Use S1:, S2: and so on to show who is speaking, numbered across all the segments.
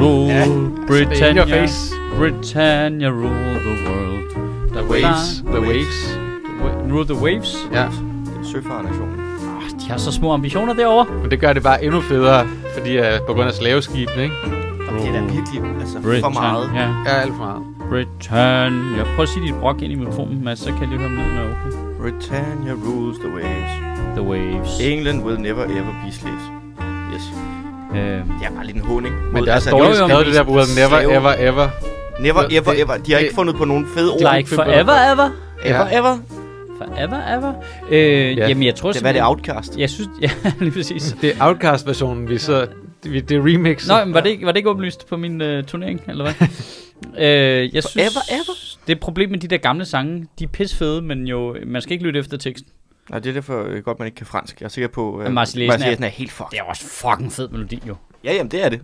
S1: Rule Britannia,
S2: face.
S1: Britannia rule the world.
S2: The waves. The waves.
S1: Rule the waves.
S2: Ja,
S3: Søfarnation.
S1: Ah, De har så små ambitioner derovre.
S2: men det gør det bare endnu federe, fordi uh, på grund af slaveskibene, ikke?
S3: Og det er da virkelig altså, for meget.
S1: Ja.
S2: Ja, alt for meget.
S1: Britannia. Prøv at sige dit brok ind i mikrofonen, Mads, så kan jeg lige høre, om lyden er okay.
S3: Britannia rules the waves.
S1: The waves.
S3: England will never ever be slaves. Yes.
S1: Øh,
S3: Det er bare lidt en honing.
S2: Men
S3: mod-
S2: det er altså,
S3: altså,
S2: dårligt
S1: jo, jo, men
S2: skrevet, det der bruger never,
S3: slave-
S2: ever, ever.
S3: Never
S2: Det-
S3: ever
S2: det-
S3: ever. De har
S2: det-
S3: ikke fundet på nogen fede ord.
S1: like forever ever.
S3: Ever
S2: Ja.
S3: ever.
S1: Forever ever. Øh,
S2: Ja.
S1: Jamen, jeg tror
S3: Det er hvad er det
S1: simpelthen-
S3: outcast.
S1: Jeg synes... Ja, lige præcis.
S2: Det er Outcast-versionen, vi så... Det, det er remix.
S1: Nå, men var det, ikke, var det ikke åbenlyst på min øh, turnering, eller hvad? øh, jeg synes,
S3: Forever, ever?
S1: Det er et problem med de der gamle sange. De er pissfede, men jo, man skal ikke lytte efter teksten.
S3: Nej, det er derfor øh, godt, man ikke kan fransk. Jeg er sikker på, at
S1: Men Marseillaisen er-
S3: er helt fucked.
S1: Det er også fucking fed melodi, jo.
S3: Ja, jamen, det er det.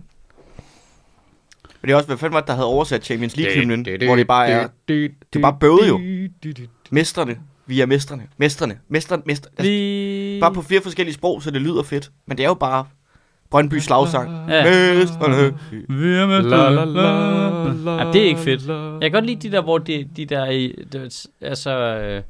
S3: Men det er også, hvad fanden var det, der havde oversat Champions League-hymnen, hvor det bare er, det er bare bøvet jo. Mestrene, vi er mestrene, mestrene, mestrene, mestrene. Altså,
S1: Vi...
S3: bare på fire forskellige sprog, så det lyder fedt. Men det er jo bare Brøndby slagsang.
S1: Ja.
S3: Mestrene.
S1: Vi er med
S2: La, la, la, la,
S1: Ej, det er ikke fedt.
S2: la.
S1: Jeg kan godt lide de der, hvor det, de der, i- det, altså, øh,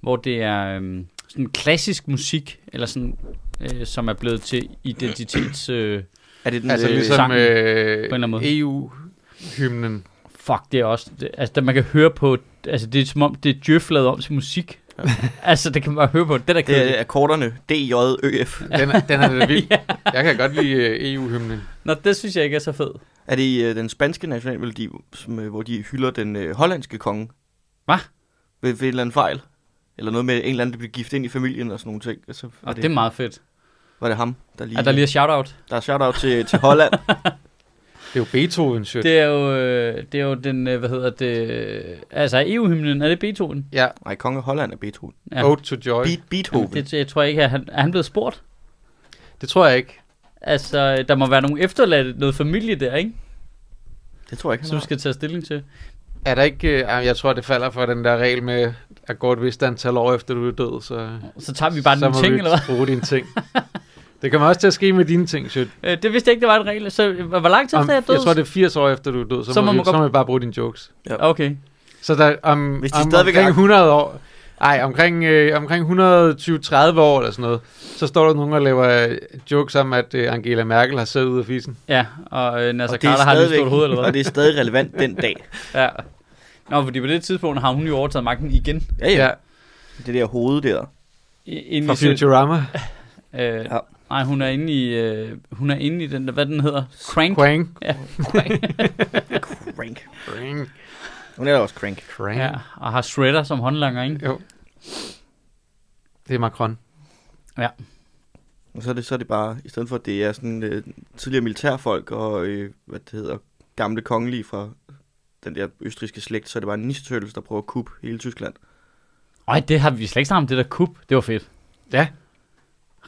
S1: hvor det er øh, sådan klassisk musik, eller sådan, øh, som er blevet til identitets... Øh,
S3: Er det den,
S2: Altså
S3: øh,
S2: ligesom
S1: sangen,
S2: øh,
S1: eller anden måde.
S2: EU-hymnen.
S1: fuck, det er også... Det, altså, der man kan høre på... Altså, det er som om, det er Djøf lavet om til musik. altså, det kan man bare høre på. Det der
S3: det
S1: kan
S3: er akkorderne D, J, Ø, F.
S2: Den, er- den er lidt vild. Jeg kan godt lide øh, EU-hymnen.
S1: Nå, det synes jeg ikke er så fedt.
S3: Er det i øh, den spanske nationalmelodi, som, øh, hvor de hylder den øh, hollandske konge?
S1: Hva?
S3: Ved, ved en eller anden fejl? Eller noget med en eller anden, der blev gift ind i familien og sådan nogle ting. Og så var,
S1: Og det er meget fedt.
S3: var det ham, der lige...
S1: Er der lige et shout-out?
S3: der er shout-out til, til Holland.
S2: Det er jo Beethoven, shit.
S1: Det er jo, øh, det er jo den, øh, hvad hedder det, øh, altså EU-hymnen, er det Beethoven?
S2: Ja,
S3: Nej, konge Holland er Beethoven.
S1: Ja.
S2: Ode to Joy.
S3: Beat, Beethoven.
S1: Jamen, det, jeg tror ikke, at han, er han blevet spurgt?
S2: Det tror jeg ikke.
S1: Altså, øh, der må være nogle efterladte, noget familie der, ikke?
S3: det, tror jeg ikke, han
S1: Som
S3: har.
S1: du skal tage stilling til.
S2: Er der ikke... Øh, ej, jeg tror, det falder for den der regel med, at gå et vist antal år efter, du er død, så...
S1: Så tager vi bare
S2: så
S1: nogle
S2: må
S1: ting,
S2: vi
S1: eller hvad?
S2: bruge dine ting. Det kommer også til at ske med dine ting, shit.
S1: Øh, det vidste jeg ikke, det var en regel. Så øh, hvor lang tid
S2: Om,
S1: efter jeg
S2: jeg
S1: død?
S2: tror, det er 80 år efter, du er død, så, så, må, vi,
S1: godt-
S2: så må vi bare bruge dine jokes.
S1: Okay.
S2: Så der, om,
S3: Hvis de
S2: om
S3: stadigvæk er-
S2: omkring 100 år... Ej, omkring, øh, omkring 120-30 år eller sådan noget, så står der nogen og laver øh, jokes om, at øh, Angela Merkel har siddet ud af fisen.
S1: Ja, og øh, Nasser
S3: Og det er
S1: Carter har lige
S3: stadigvæk-
S1: stort hoved, eller
S3: Og
S1: hvad?
S3: det er stadig relevant den dag.
S1: Ja. Nå, fordi på det tidspunkt har hun jo overtaget magten igen.
S3: Ja, ja. Det der hoved der.
S1: I- Inde
S2: Fra
S1: i sin-
S2: Futurama.
S1: Øh,
S3: Ja.
S1: Nej, hun er inde i, øh, hun er inde i den der, hvad den hedder? Crank.
S2: Quang.
S1: Ja, crank.
S3: Crank.
S2: Quang.
S3: Hun er da også crank.
S2: Quang.
S1: ja, og har Shredder som håndlanger, ikke?
S2: Jo. Det er Macron.
S3: Og så er det, så er det bare, i stedet for at det er sådan øh, tidligere militærfolk og, øh, hvad det hedder, gamle kongelige fra den der østriske slægt, så er det bare nissetøtels, der prøver at kuppe hele Tyskland.
S1: Ej, det har vi slet ikke snakket om, det der kup. Det var fedt.
S2: Ja.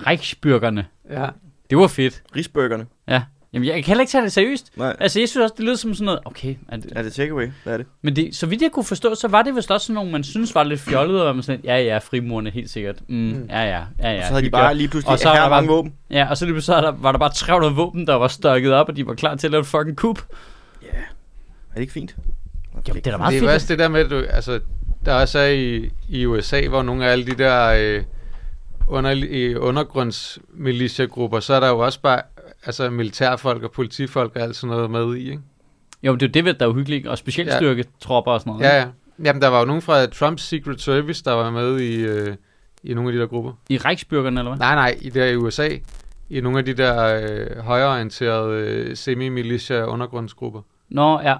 S1: Reichsbürgerne.
S2: Ja.
S1: Det var fedt.
S3: Rigsbørgerne.
S1: Ja. Jamen, jeg kan heller ikke tage det seriøst.
S3: Nej.
S1: Altså, jeg synes også, det lyder som sådan noget, okay. Er det,
S3: Er det takeaway? Hvad er det?
S1: men det, så vidt jeg kunne forstå, så var det vist også sådan nogle, man synes var lidt fjollede, og var man sådan, ja, ja, frimurerne, helt sikkert. Mm,
S2: Mm.
S1: ja, ja, ja, ja.
S3: Ja, så havde de
S1: hyggeligt.
S3: bare lige pludselig,
S1: Og så
S3: her
S1: er der
S3: er mange
S1: bare-
S3: våben.
S1: Ja, og så lige pludselig var der- var der bare 300 våben, der var stokket op, og de var klar til at lave et fucking kup.
S3: Er det ikke fint?
S1: Jo, det er da
S2: Det
S1: meget
S2: er jo
S1: fedt.
S2: også det der med, at du, altså, der også er i, i USA, hvor nogle af alle de der øh, under, i undergrundsmilitiagrupper, så er der jo også bare altså, militærfolk og politifolk og alt sådan noget med i, ikke?
S1: Jo, men det er jo det, der er uhyggeligt, og specielt
S2: Ja.
S1: styrketropper og sådan noget.
S2: Ja, ja. Jamen, der var jo nogen fra Trumps Secret Service, der var med i, øh, i nogle af de der grupper.
S1: I Reichsbürgerne, eller hvad?
S2: Nej, nej, i der i USA. I nogle af de der øh, højreorienterede øh, semi-militia undergrundsgrupper.
S1: Nå, ja.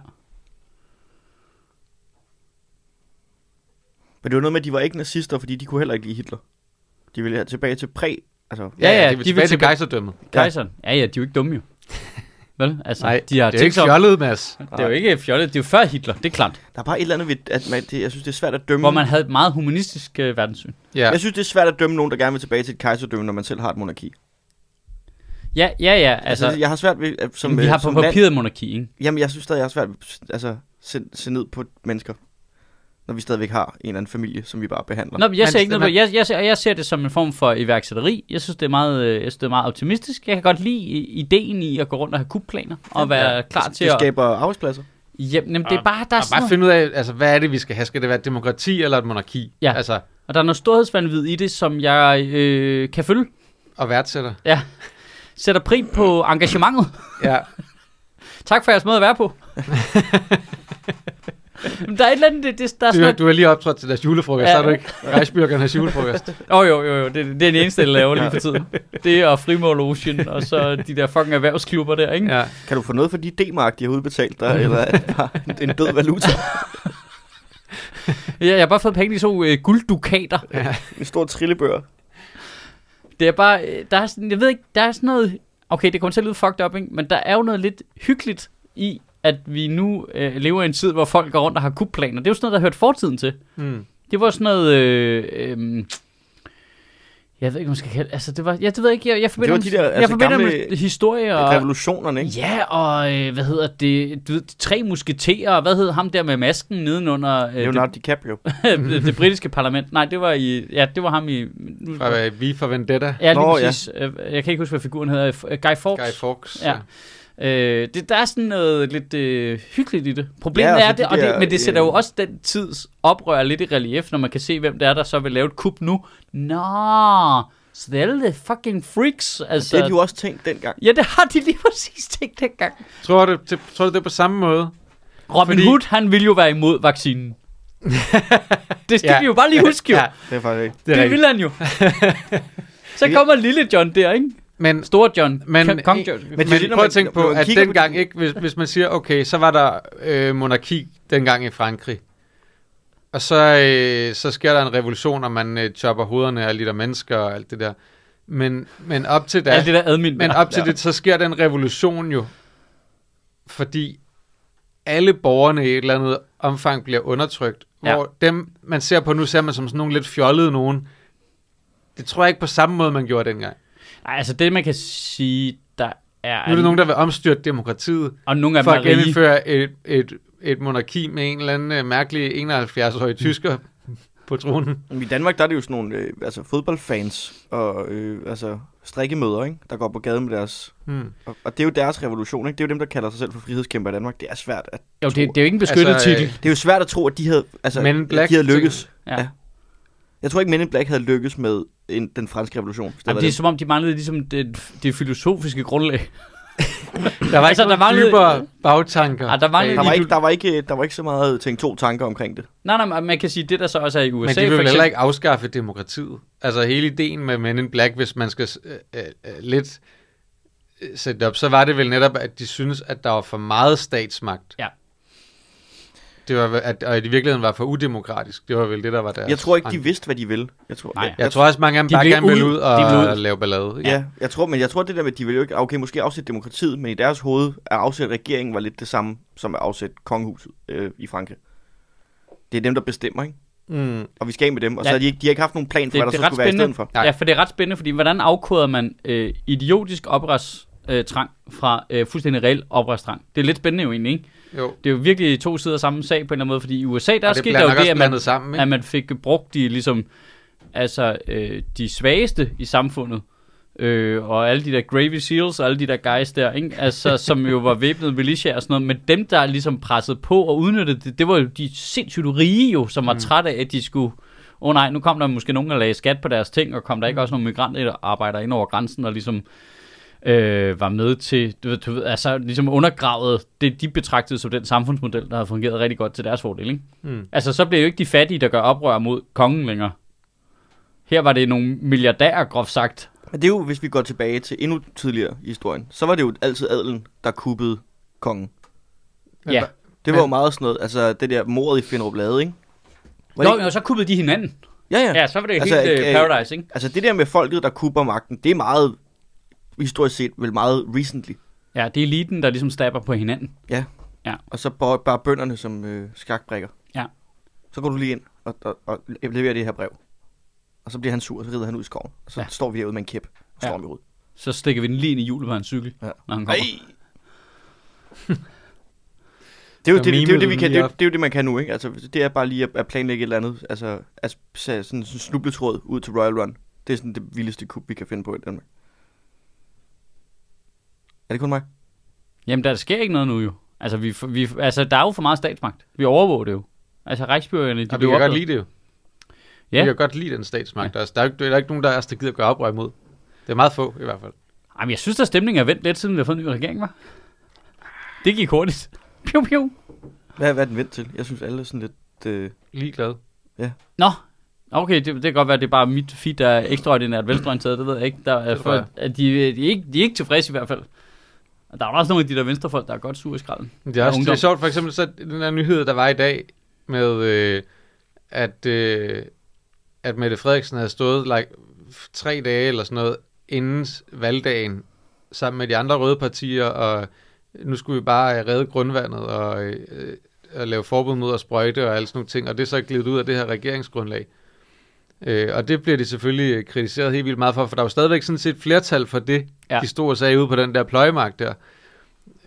S3: Men det var noget med, at de var ikke nazister, fordi de kunne heller ikke lide Hitler. De ville have tilbage til præ Altså,
S1: Ja, ja,
S2: de
S1: de
S2: vil
S1: vil
S2: tilbage til
S1: tilbage-
S2: gejserdømmet.
S3: Ja.
S1: Kejseren. Ja, ja, de er jo ikke dumme jo. Vel? Altså,
S2: Nej,
S1: de har
S2: det er
S1: tænkt
S2: ikke
S1: sig om.
S2: fjollet, Mads.
S1: Det er jo ikke fjollet, det er jo før Hitler, det er klart.
S3: der er bare et eller andet ved, at man, det, jeg synes, det er svært at dømme.
S1: Hvor man havde et meget humanistisk øh, verdenssyn.
S2: Ja,
S3: Jeg synes, det er svært at dømme nogen, der gerne vil tilbage til et kejserdømme, når man selv har et monarki.
S1: Ja, ja, ja, altså,
S3: Altså, altså jeg har svært ved, at, som,
S1: som, vi
S3: øh,
S1: har på
S3: som land,
S1: papiret monarki, ikke?
S3: Jamen, jeg synes stadig, jeg har svært ved at altså, se, se ned på mennesker, når vi stadigvæk har en eller anden familie, som vi bare behandler.
S1: Nå, men jeg
S2: Men
S1: ser ikke noget
S2: man-
S1: på, jeg, jeg, ser, jeg ser det som en form for iværksætteri. Jeg synes, det er meget, øh, jeg synes, det er meget optimistisk. Jeg kan godt lide i- ideen i at gå rundt og have kubplaner og være ja, klar
S3: det,
S1: til
S3: Altså, det
S1: at...
S3: skaber arbejdspladser.
S1: Jamen, jamen, det er Ah, bare, der er
S2: og
S1: sådan
S2: bare
S1: noget,
S2: finde ud af, altså, hvad er det, vi skal have? Skal det være et demokrati eller et monarki?
S1: Ja.
S2: Altså,
S1: og der er noget storhedsvandvid i det, som jeg øh, kan følge.
S2: og værdsætter.
S1: Ja. Sætter pris på engagementet.
S2: Ja.
S1: Tak for jeres måde at være på. Jamen, der er et eller andet, det, det der er
S2: Du,
S1: sådan
S2: har- du har lige optrådt til deres julefrokost,
S1: Ja.
S2: ja. så er du ikke rejsbyrkernes julefrokost.
S1: Åh oh, jo, jo, jo, det, det er den eneste, jeg laver lige for tiden. Det er Frimål Ocean, og så de der fucking erhvervsklubber der, ikke?
S2: Ja.
S3: Kan du få noget for de D-mark, de har udbetalt dig, eller er det bare en- en død valuta?
S1: Ja. Jeg, jeg har bare fået penge i to øh, gulddukater.
S3: En stor trillebør.
S1: Det er bare, øh, der er sådan, jeg ved ikke, der er sådan noget, okay, det kommer til at lyde fucked up, ikke? men der er jo noget lidt hyggeligt i, at vi nu øh, lever i en tid, hvor folk går rundt og har kupplaner. Det er jo sådan noget, der har hørt fortiden til.
S2: Mm.
S1: Det var sådan noget, øh, øh, jeg ved ikke, om man skal kalde altså det var, jeg det ved jeg ikke, jeg, jeg forbinder,
S3: Det var de der,
S1: jeg
S3: altså,
S1: forbinder
S3: gamle
S1: med historie og...
S3: Revolutionerne, ikke?
S1: Ja, og øh, hvad hedder det? Du ved, de tre musketerer, og hvad hed ham der med masken nedenunder øh,
S3: Leonardo DiCaprio.
S1: det, det, det britiske parlament? Nej, det var i ja, det var ham i nu,
S2: Fra øh, Vi for Vendetta.
S1: Ja, lige
S3: Nå,
S1: præcis. Øh, Jeg kan ikke huske, hvad figuren hedder. Øh, Guy Fawkes.
S2: Guy Fawkes.
S1: Ja. Øh, det, der er sådan noget lidt øh, hyggeligt i det. Problemet
S3: Ja, og
S1: ja,
S3: så
S1: er det,
S3: de
S1: og
S3: der,
S1: det, men det sætter jo
S3: øh,
S1: også den tids oprør lidt i relief, når man kan se, hvem det er, der så vil lave et kup nu. Nå, så det er alle de fucking freaks. Altså.
S3: Det har de jo også tænkt dengang.
S1: Ja, det har de lige præcis tænkt dengang.
S2: Tror du, det, tror du, det er på samme måde?
S1: Robin
S2: Fordi-
S1: Fordi... Hood, han ville jo være imod vaccinen. det skal
S2: Ja.
S1: ja. vi jo bare lige huske jo.
S2: Ja,
S1: Ja,
S3: Det er faktisk ikke.
S1: det det ville han jo. Så kommer lille John der, ikke?
S2: Men,
S1: Store John.
S2: Men-
S1: Men, Kong John.
S2: men,
S3: det er det,
S2: men
S3: når
S2: prøv
S3: man-
S2: at tænke
S3: når
S2: på,
S3: man
S2: at
S3: kigger på
S2: dengang
S3: de-
S2: ikke, hvis, hvis man siger, okay, så var der øh, monarki dengang i Frankrig, og så, øh, så sker der en revolution, og man øh, chopper hovederne af alle de der mennesker og alt det der. Men, men op til da,
S1: Alt det der admin.
S2: Men op til det, så sker den revolution jo, fordi alle borgerne i et eller andet omfang bliver undertrykt.
S1: Ja.
S2: Ja. Hvor dem, man ser på nu, ser man som sådan nogle lidt fjollede nogen. Det tror jeg ikke på samme måde, man gjorde dengang.
S1: Nej, altså det, man kan sige, der er...
S2: Nu er der nogen, der vil omstyrte demokratiet
S1: og nogle af
S2: for
S1: dem
S2: at
S1: er rige.
S2: gennemføre et, et, et monarki med en eller anden øh, mærkelig
S1: Mm.
S2: 71-årig tysker på tronen.
S3: Men I Danmark, der er det jo sådan nogle øh, altså, fodboldfans og øh, altså, strikkemøder, ikke? der går på gaden med deres...
S2: Hmm.
S3: Og, og, det er jo deres revolution, ikke? Det er jo dem, der kalder sig selv for frihedskæmper i Danmark. Det er svært. At,
S1: Jo, det, det er jo ikke en beskyttet altså,
S2: Altså, øh,
S1: titel.
S3: det er jo svært at tro, at de havde, altså,
S2: Men
S3: at
S2: Black-
S3: de havde lykkes.
S1: Ja.
S3: ja. Jeg tror ikke, Men in Black havde lykkes med en, den franske revolution. hvis var
S1: Jamen, det er som om, de manglede ligesom det, det filosofiske grundlag.
S2: Der var ikke
S1: Altså,
S2: altså,
S1: der
S2: nogen
S1: manglede-
S2: dybere bagtanker.
S1: Ah, der manglede-
S3: der,
S2: bag.
S3: var ikke, der, var ikke, der var ikke så meget tænkt to tanker omkring det.
S1: Nej, nej, men man kan sige, det der så også er i USA,
S2: Men de vil
S1: for
S2: vel
S1: eksempel.
S2: heller ikke afskaffe demokratiet. Altså hele ideen med Men in Black, hvis man skal øh, øh, øh, lidt øh, sætte det op, så var det vel netop, at de synes, at der var for meget statsmagt.
S1: Ja.
S2: Det var, vel- at, og i virkeligheden var for udemokratisk. Det var vel det, der var deres...
S3: Jeg tror ikke, de
S2: anke.
S3: vidste, hvad de ville. Jeg tror,
S1: Nej.
S3: jeg,
S2: Jeg tror også, mange af dem
S1: De
S2: bare
S1: ville
S2: gerne ville
S1: ud.
S2: ud og
S1: De ville ud.
S2: lave ballade.
S3: Ja, jeg tror, men jeg tror det der med, at de vil jo ikke, okay, måske afsætte demokratiet, men i deres hoved at afsætte regeringen var lidt det samme som at afsætte kongehuset øh, i Frankrig. Det er dem, der bestemmer, ikke?
S2: Mm.
S3: Og vi skal af med dem, og så
S1: Ja.
S3: har de, ikke, de har ikke haft nogen plan for,
S1: Det-
S3: hvad der
S1: det
S3: så
S1: er ret
S3: skulle være i
S1: spændende.
S3: stedet for.
S2: Nej.
S1: Ja, for det er ret spændende, fordi hvordan afkoder man øh, idiotisk oprørstrang øh, trang fra øh, fuldstændig reel oprørstrang? Det er lidt spændende jo egentlig, ikke?
S2: Jo.
S1: Det er jo virkelig to sider af samme sag på en eller anden måde, fordi i USA, der
S2: Og det
S1: skete
S2: bliver
S1: der jo
S2: nok
S1: det,
S2: også
S1: at man,
S2: blandet sammen, ikke?
S1: at man fik brugt de, ligesom, altså, øh, de svageste i samfundet, øh, og alle de der Gravy Seals og alle de der guys der, ikke? Altså, som jo var væbnede militia og sådan noget, men dem, der ligesom pressede på og udnyttede det, det var jo de sindssygt rige jo, som var mm. trætte af, at de skulle Åh oh, nej, nu kom der måske nogen, der lagde skat på deres ting, og kom der ikke også nogle migrantarbejdere ind over grænsen og ligesom øh, var med til, du ved, du ved, altså ligesom undergravede det, de betragtede som den samfundsmodel, der havde fungeret rigtig godt til deres fordel, ikke?
S2: Mm.
S1: Altså, så bliver jo ikke de fattige, der gør oprør mod kongen længere. Her var det nogle milliardærer, groft sagt.
S3: Men det er jo, hvis vi går tilbage til endnu tidligere i historien, så var det jo altid adelen, der kuppede kongen.
S2: Men
S1: Ja.
S2: hva-
S3: Det var jo
S2: Men-
S3: meget sådan noget, altså det der mordet i Finderup Lade, ikke? Var det
S1: Nå,
S3: ikke?
S1: og så kuppede de hinanden.
S3: Ja, ja.
S1: Ja, så var det jo
S3: Altså,
S1: helt øh,
S3: øh,
S1: paradise, ikke?
S3: Altså det der med folket, der kubber magten, det er meget, historisk set, vel meget recently.
S1: Ja, det er eliten, der ligesom stabber på hinanden.
S3: Ja.
S1: Ja.
S3: Og så bare, bare bønderne som øh, skakbrækker.
S1: Ja.
S3: Så går du lige ind og, og, og leverer det her brev. Og så bliver han sur, og så rider han ud i skoven. Og så
S1: Ja.
S3: ja. står vi herude med en kæp og
S1: Ja.
S3: slår ja. ham i hovedet.
S1: Så stikker vi den lige ind i hjulet på hans cykel,
S3: Ja.
S1: når han
S3: Ej!
S1: kommer.
S3: Det er, jo
S2: Der
S3: det, det, er jo
S2: mimede
S3: det, vi
S2: den
S3: kan, det,
S2: lige
S3: er jo-
S2: op.
S3: det er jo det, man kan nu, ikke? Altså, det er bare lige at, at planlægge et eller andet. Altså, at sætte sådan en snubletråd ud til Royal Run. Det er sådan det vildeste kub, vi kan finde på i Danmark. Er det kun mig?
S1: Jamen, der sker ikke noget nu jo. Altså, vi, vi, altså, der er jo for meget statsmagt. Vi overvåger det jo. Altså, rejsbyrgerne, de
S2: Og vi
S1: blev
S2: kan godt
S1: opløst.
S2: lide det jo.
S1: Ja.
S2: Vi kan godt lide den statsmagt. Ja. Der, er, jo ikke- der er ikke nogen, der er os, der gider gøre oprør imod. Det er meget få, i hvert fald.
S1: Jamen, jeg synes, der stemningen er vendt lidt, siden vi har fået en ny regering, var. Det gik hurtigt. Piu, piu.
S3: Hvad, hvad er den vendt til? Jeg synes, alle er sådan lidt... Øh,
S2: Ligeglad.
S1: Nå, okay, det, det kan godt være, det er bare mit feed, der er ekstraordinært venstreorienteret, det ved jeg ikke. Der er
S2: Det tror jeg.
S1: for, at de, de, er ikke, de er ikke tilfredse i hvert fald. Og der er jo også nogle af de der venstrefolk, der er godt sure i skralden.
S2: Men Det er, også, det
S1: ungdom.
S2: er sjovt, for eksempel så den her nyhed, der var i dag, med øh, at, øh, at Mette Frederiksen havde stået like, f- tre dage eller sådan noget, inden s- valgdagen, sammen med de andre røde partier, og nu skulle vi bare øh, redde grundvandet og, øh, og lave forbud mod at sprøjte og alle sådan nogle ting, og det er så glidet ud af det her regeringsgrundlag. Øh, og det bliver de selvfølgelig øh, kritiseret helt vildt meget for, for der er jo stadigvæk sådan set flertal for det,
S1: Ja.
S2: ja. de stod og sagde ude på den der pløjemark der.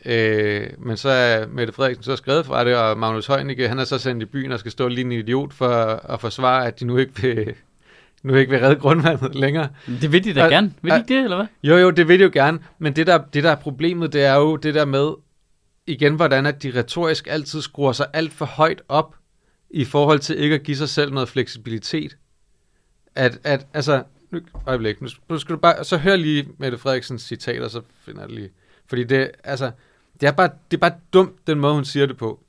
S2: Øh, men så er Mette Frederiksen så skrevet fra det, og Magnus Heunicke, han er så sendt i byen og skal stå lige en idiot for at forsvare, at de nu ikke vil, nu ikke vil redde grundvandet længere.
S1: Men Det vil de da
S2: Og-
S1: gerne. Vil de
S2: og-
S1: ikke det, eller hvad?
S2: Jo, jo, det vil de jo gerne, men det der, det der er problemet, det er jo det der med, igen, hvordan at de retorisk altid skruer sig alt for højt op i forhold til ikke at give sig selv noget fleksibilitet. At, at altså, nu, øjeblik, nu, nu skal du bare, så hør lige Mette Frederiksens citat, og så finder jeg det lige. Fordi det, altså, det er bare, det er bare dumt, den måde, hun siger det på.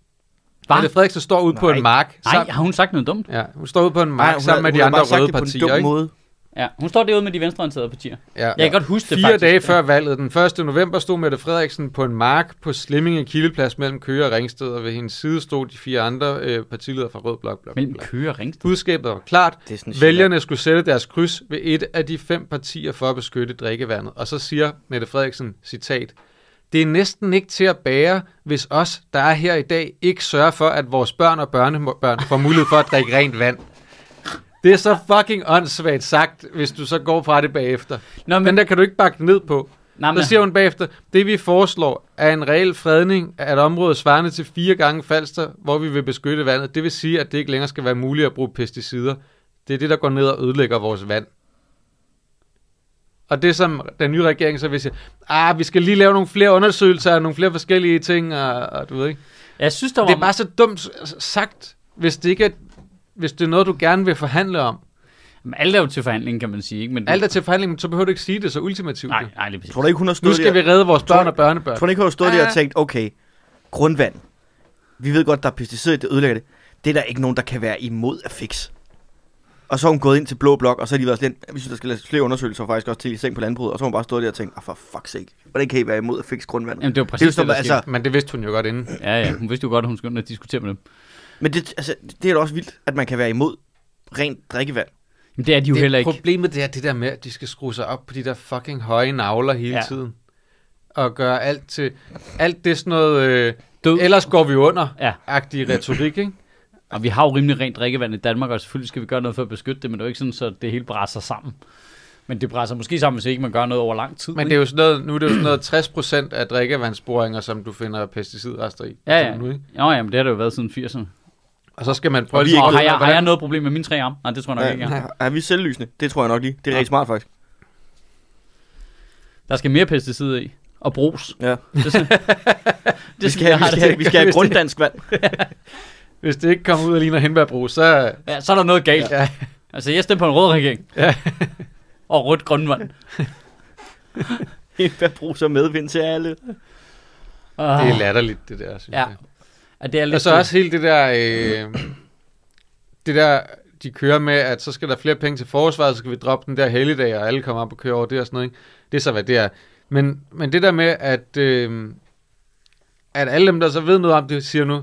S1: Hva?
S2: Mette Frederiksen står ude på
S3: Nej.
S2: en mark.
S1: Nej,
S2: sammen-
S1: har hun sagt noget dumt?
S2: ja, hun står ude på en mark
S3: ej,
S2: Ej,
S3: hun
S2: sammen
S3: har-
S2: med
S3: hun
S2: de
S3: har bare
S2: andre
S3: sagt
S2: røde
S3: det på en
S2: partier,
S3: dum
S2: ikke?
S3: Måde.
S1: Ja, hun står derude med de venstreorienterede partier.
S2: Ja.
S1: Jeg kan godt huske det
S2: Fire
S1: faktisk.
S2: dage
S1: Ja.
S2: før valget, den 1. november, stod Mette Frederiksen på en mark på Slimminge Kildeplads mellem Køge og Ringsted, og ved hendes side stod de fire andre øh, partiledere fra Rød Blok. Blok,
S1: Mellem
S2: blok.
S1: Køge og Ringsted.
S2: Budskabet var klart.
S3: Det er sådan
S2: Vælgerne skulle sætte deres kryds ved et af de fem partier for at beskytte drikkevandet. Og så siger Mette Frederiksen, citat, det er næsten ikke til at bære, hvis os, der er her i dag, ikke sørger for, at vores børn og børnebørn får mulighed for at drikke rent vand. Det er så fucking åndssvagt sagt, hvis du så går fra det bagefter.
S1: Nå,
S2: Men
S1: men,
S2: den der kan du ikke bakke den ned på.
S1: nej, men,
S2: Så siger hun bagefter, det vi foreslår er en reel fredning af et område svarende til fire gange Falster, hvor vi vil beskytte vandet. Det vil sige, at det ikke længere skal være muligt at bruge pesticider. Det er det, der går ned og ødelægger vores vand. Og det som den nye regering så vil sige, ah, vi skal lige lave nogle flere undersøgelser og nogle flere forskellige ting, og, og du ved ikke.
S1: jeg synes, der var...
S2: Det er bare så dumt s- sagt, hvis det ikke er, hvis det er noget, du gerne vil forhandle om.
S1: Jamen, Alt er jo til forhandling, kan man sige. Ikke? Men,
S2: Alt er til forhandling, men så behøver du ikke sige det så ultimativt.
S1: Nej,
S2: jo.
S1: nej, det er præcis.
S3: Tror du ikke, hun har
S2: Nu
S3: stået
S2: skal vi
S3: der?
S2: redde vores
S3: Tror-
S2: børn og børnebørn.
S3: Tror du ikke, hun har stået der
S2: Ah.
S3: og tænkt, okay, grundvand. Vi ved godt, der er pesticider i det, ødelægger det. Det er der ikke nogen, der kan være imod at fikse. Og så er hun gået ind til Blå Blok, og så har de været sådan, lidt, vi synes, der skal laves flere undersøgelser, og faktisk også til i seng på landbruget, og så har hun bare stået der og tænkt, ah, for fuck's sake, hvordan kan I være imod at fikse grundvandet?
S1: Jamen, det var
S3: det er jo
S1: præcis det,
S3: sådan,
S1: der
S3: altså,
S1: altså...
S2: Men det vidste hun jo godt inden.
S1: Ja, ja, hun vidste jo godt, at hun skulle ind og diskutere med dem.
S3: men det, altså, det er da også vildt, at man kan være imod rent drikkevand.
S1: Men det er de jo heller ikke.
S2: Problemet det er det der med, at de skal skrue sig op på de der fucking høje navler hele
S1: Ja.
S2: ja. tiden. Og gøre alt til... Alt det sådan noget... Øh,
S1: Død.
S2: ellers går vi under.
S1: Ja.
S2: Agtig retorik, ikke?
S1: Og vi har jo rimelig rent drikkevand i Danmark, og selvfølgelig skal vi gøre noget for at beskytte det, men det er jo ikke sådan, så det hele brænder sammen. Men det brænder måske sammen, hvis ikke man gør noget over lang tid.
S2: Men det er jo sådan noget, nu er det jo sådan noget 60% af drikkevandsboringer, som du finder pesticidrester i.
S1: Ja, ja.
S2: Nu, ikke?
S1: Nå, jamen, det har det jo været siden 80'erne.
S2: Og så skal man prøve...
S3: Og vi
S2: ligesom
S1: Og
S2: at
S1: har
S2: finde ud
S1: jeg, har
S2: af, hvordan-
S1: jeg noget problem med mine tre arme? Nej, det tror jeg nok ikke, jeg har.
S3: Er, er vi selvlysende? Det tror jeg nok lige. Det er rigtig smart, faktisk.
S1: Der skal mere pesticider i. Og brus.
S3: Ja.
S1: Det, er sådan- det,
S3: Vi
S1: er
S3: skal,
S1: sådan, jeg
S3: have, vi,
S1: har
S3: skal,
S1: det.
S3: have, vi skal have
S2: Hvis det-
S3: grunddansk vand.
S2: Hvis det ikke kommer ud af ligner hindbærbrug, så...
S1: Ja, så er der noget galt. Ja. Altså, jeg stemte på en rød regering. Ja. og rødt grønvand.
S3: Hvad bruger så medvind til alle?
S1: Uh,
S2: Det er latterligt, det der, synes
S1: Ja.
S2: jeg.
S1: Og det er lidt
S2: Og så også hele det der, øh, det der, de kører med, at så skal der flere penge til forsvaret, så skal vi droppe den der helligdag, og alle kommer op og kører over det og sådan noget. Ikke? Det er så, hvad det er. Men, men det der med, at, øh, at alle dem, der så ved noget om det, siger nu,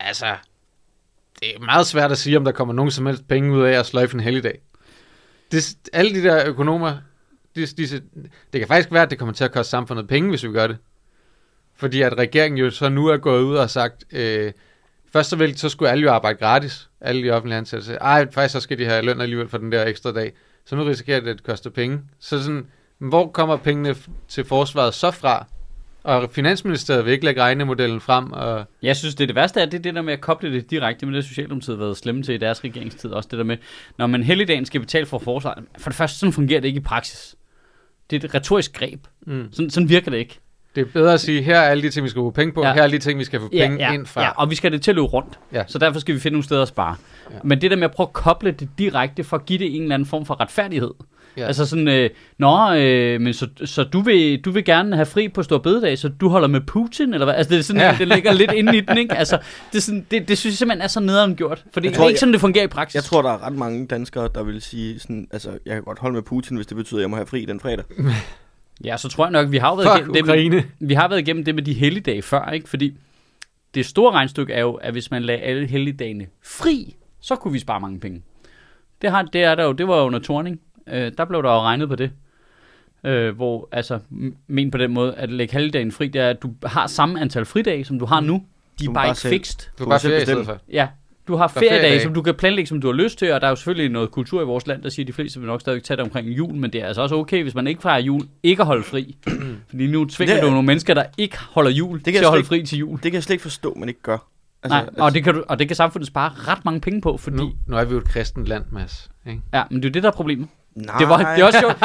S2: altså, Det er meget svært at sige, om der kommer nogen som helst penge ud af at sløjfe en helligdag. Det, alle de der økonomer, de, de, de, det kan faktisk være, at det kommer til at koste samfundet penge, hvis vi gør det. Fordi at regeringen jo så nu er gået ud og har sagt, øh, først så, vil, så skulle alle jo arbejde gratis, alle de offentlige ansatte. Så, Ej, faktisk så skal de have løn alligevel for den der ekstra dag. Så nu risikerer det, at det koster penge. Så sådan, hvor kommer pengene f- til forsvaret så fra? Og Finansministeriet vil ikke lægge regnemodellen frem, og
S1: Jeg synes, det, er det værste er, det er det der med at koble det direkte med det, Socialdemokratiet har været slemme til i deres regeringstid. Også det der med, når man helligdagen skal betale for forsvaret. For det første, sådan fungerer det ikke i praksis. Det er et retorisk greb.
S2: Mm.
S1: Sådan, sådan virker det ikke.
S2: det er bedre at sige, her er alle de ting, vi skal bruge penge på,
S1: Ja.
S2: ja. her er alle de ting, vi skal få penge
S1: ja,
S2: ind fra.
S1: Ja, og vi skal have det til at løbe rundt.
S2: Ja.
S1: Så derfor skal vi finde nogle steder at spare. Ja.
S2: Ja.
S1: Men det der med at prøve at koble det direkte for at give det en eller anden form for retfærdighed. Ja.
S2: Ja.
S1: Altså sådan, øh, nå, øh, men så, så du, vil, du vil gerne have fri på stor bededag, så du holder med Putin, eller hvad? Altså det er sådan, ja.
S2: Ja.
S1: det ligger lidt inde i den, ikke? Altså, det, er sådan, det, det synes jeg simpelthen er så nederen gjort, for det
S3: Jeg
S1: tror,
S3: tror,
S1: er ikke
S3: jeg-
S1: sådan, det fungerer i praksis.
S3: Jeg tror, der er ret mange danskere, der vil sige sådan, altså, jeg kan godt holde med Putin, hvis det betyder, at jeg må have fri den fredag.
S1: Ja, så tror jeg nok, vi har jo været
S2: Fuck
S1: igennem det, med,
S2: Ukraine.
S1: vi har været igennem det med de helligdage før, ikke? Fordi det store regnstykke er jo, at hvis man lagde alle helligdagene fri, så kunne vi spare mange penge. Det, har, det, er der jo, det var jo under Torning. Øh, der blev der jo regnet på det. Øh, hvor, altså, m- men på den måde, at lægge helligdagen fri, det er, at du har samme antal fridage, som du har nu. De er
S3: Du må
S1: bare
S3: bare
S1: ikke
S3: selv-
S1: fikst.
S2: Du kan
S3: Du kan
S2: bare
S3: selv
S2: ferie i
S3: bestemme.
S2: stedet for.
S1: Ja, du har
S2: Der er
S1: feriedage, feriedage,
S2: feriedage.
S1: som du kan planlægge, som du har lyst til, og der er jo selvfølgelig noget kultur i vores land, der siger, at de fleste vil nok stadig tage det omkring jul, men det er altså også okay, hvis man ikke fejrer jul, ikke at holde fri. Fordi nu tvinger
S3: Det er-
S1: du nogle mennesker, der ikke holder jul, det
S3: kan
S1: til
S3: jeg
S1: at holde
S3: slet
S1: fri til jul.
S3: Det kan jeg slet ikke forstå, man ikke gør.
S1: Altså, Nej, og, det kan du, og det kan samfundet spare ret mange penge på, fordi...
S2: Nu, nu er vi jo et kristent land, Mads. Ikke?
S1: Ja, men det er jo det, der er problemet.
S3: nej,
S1: Det, var, det er også sjovt.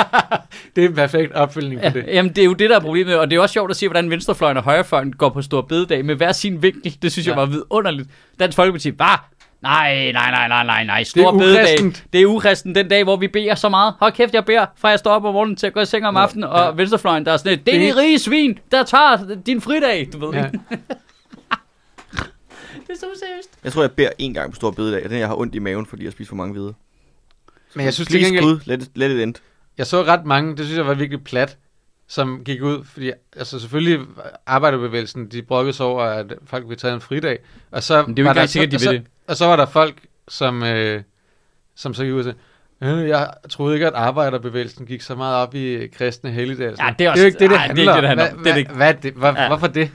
S2: Det er en perfekt opfyldning på det.
S1: Ja, jamen, det er jo det, der er problemet, og det er også sjovt at se, hvordan venstrefløjen og højrefløjen går på stor bededag med hver sin vinkel. Det synes ja. jeg
S2: Ja.
S1: var vidunderligt. Dansk Folkeparti, bare, nej, nej, nej, nej, nej, nej, stor
S2: Det er
S1: bededag.
S2: ukristent.
S1: Det er ukristen den dag, hvor vi beder så meget. Hold kæft, jeg beder, fra jeg står op om morgenen til at gå i seng om aftenen, og
S2: ja.
S1: venstrefløjen, der er sådan et, det
S2: Det
S1: er
S2: er-
S1: de rige svin, der tager din fridag, du ved ja.
S2: Ja.
S1: ikke. Det er så seriøst.
S3: Jeg tror, jeg beder en gang på stor bededag, og den jeg har ondt i maven, fordi jeg spiser for mange hvide.
S2: Men jeg synes til
S3: Please,
S2: gengæld,
S3: Gud, let it, let it end.
S2: jeg så ret mange, det synes jeg var virkelig plat, som gik ud, fordi altså selvfølgelig arbejderbevægelsen, de brokkede sig over, at folk ville tage en fridag, og så
S1: Men det er jo ikke
S2: var der,
S1: engang sikkert, de
S2: og så,
S1: vil det.
S2: og så var der folk, som, øh, som så gik ud og sagde, "Øh, jeg troede ikke, at arbejderbevægelsen gik så meget op i øh, kristne helligdage.
S1: Ja, det er
S2: jo
S1: også-
S2: ikke det, det
S1: ej, det er ikke
S2: handler
S1: det, det handler om.
S2: Hvad-
S1: Det er det
S2: hvad-
S1: ikke.
S2: Hvad, er det, hvor,
S1: Ja.
S2: Hvorfor det?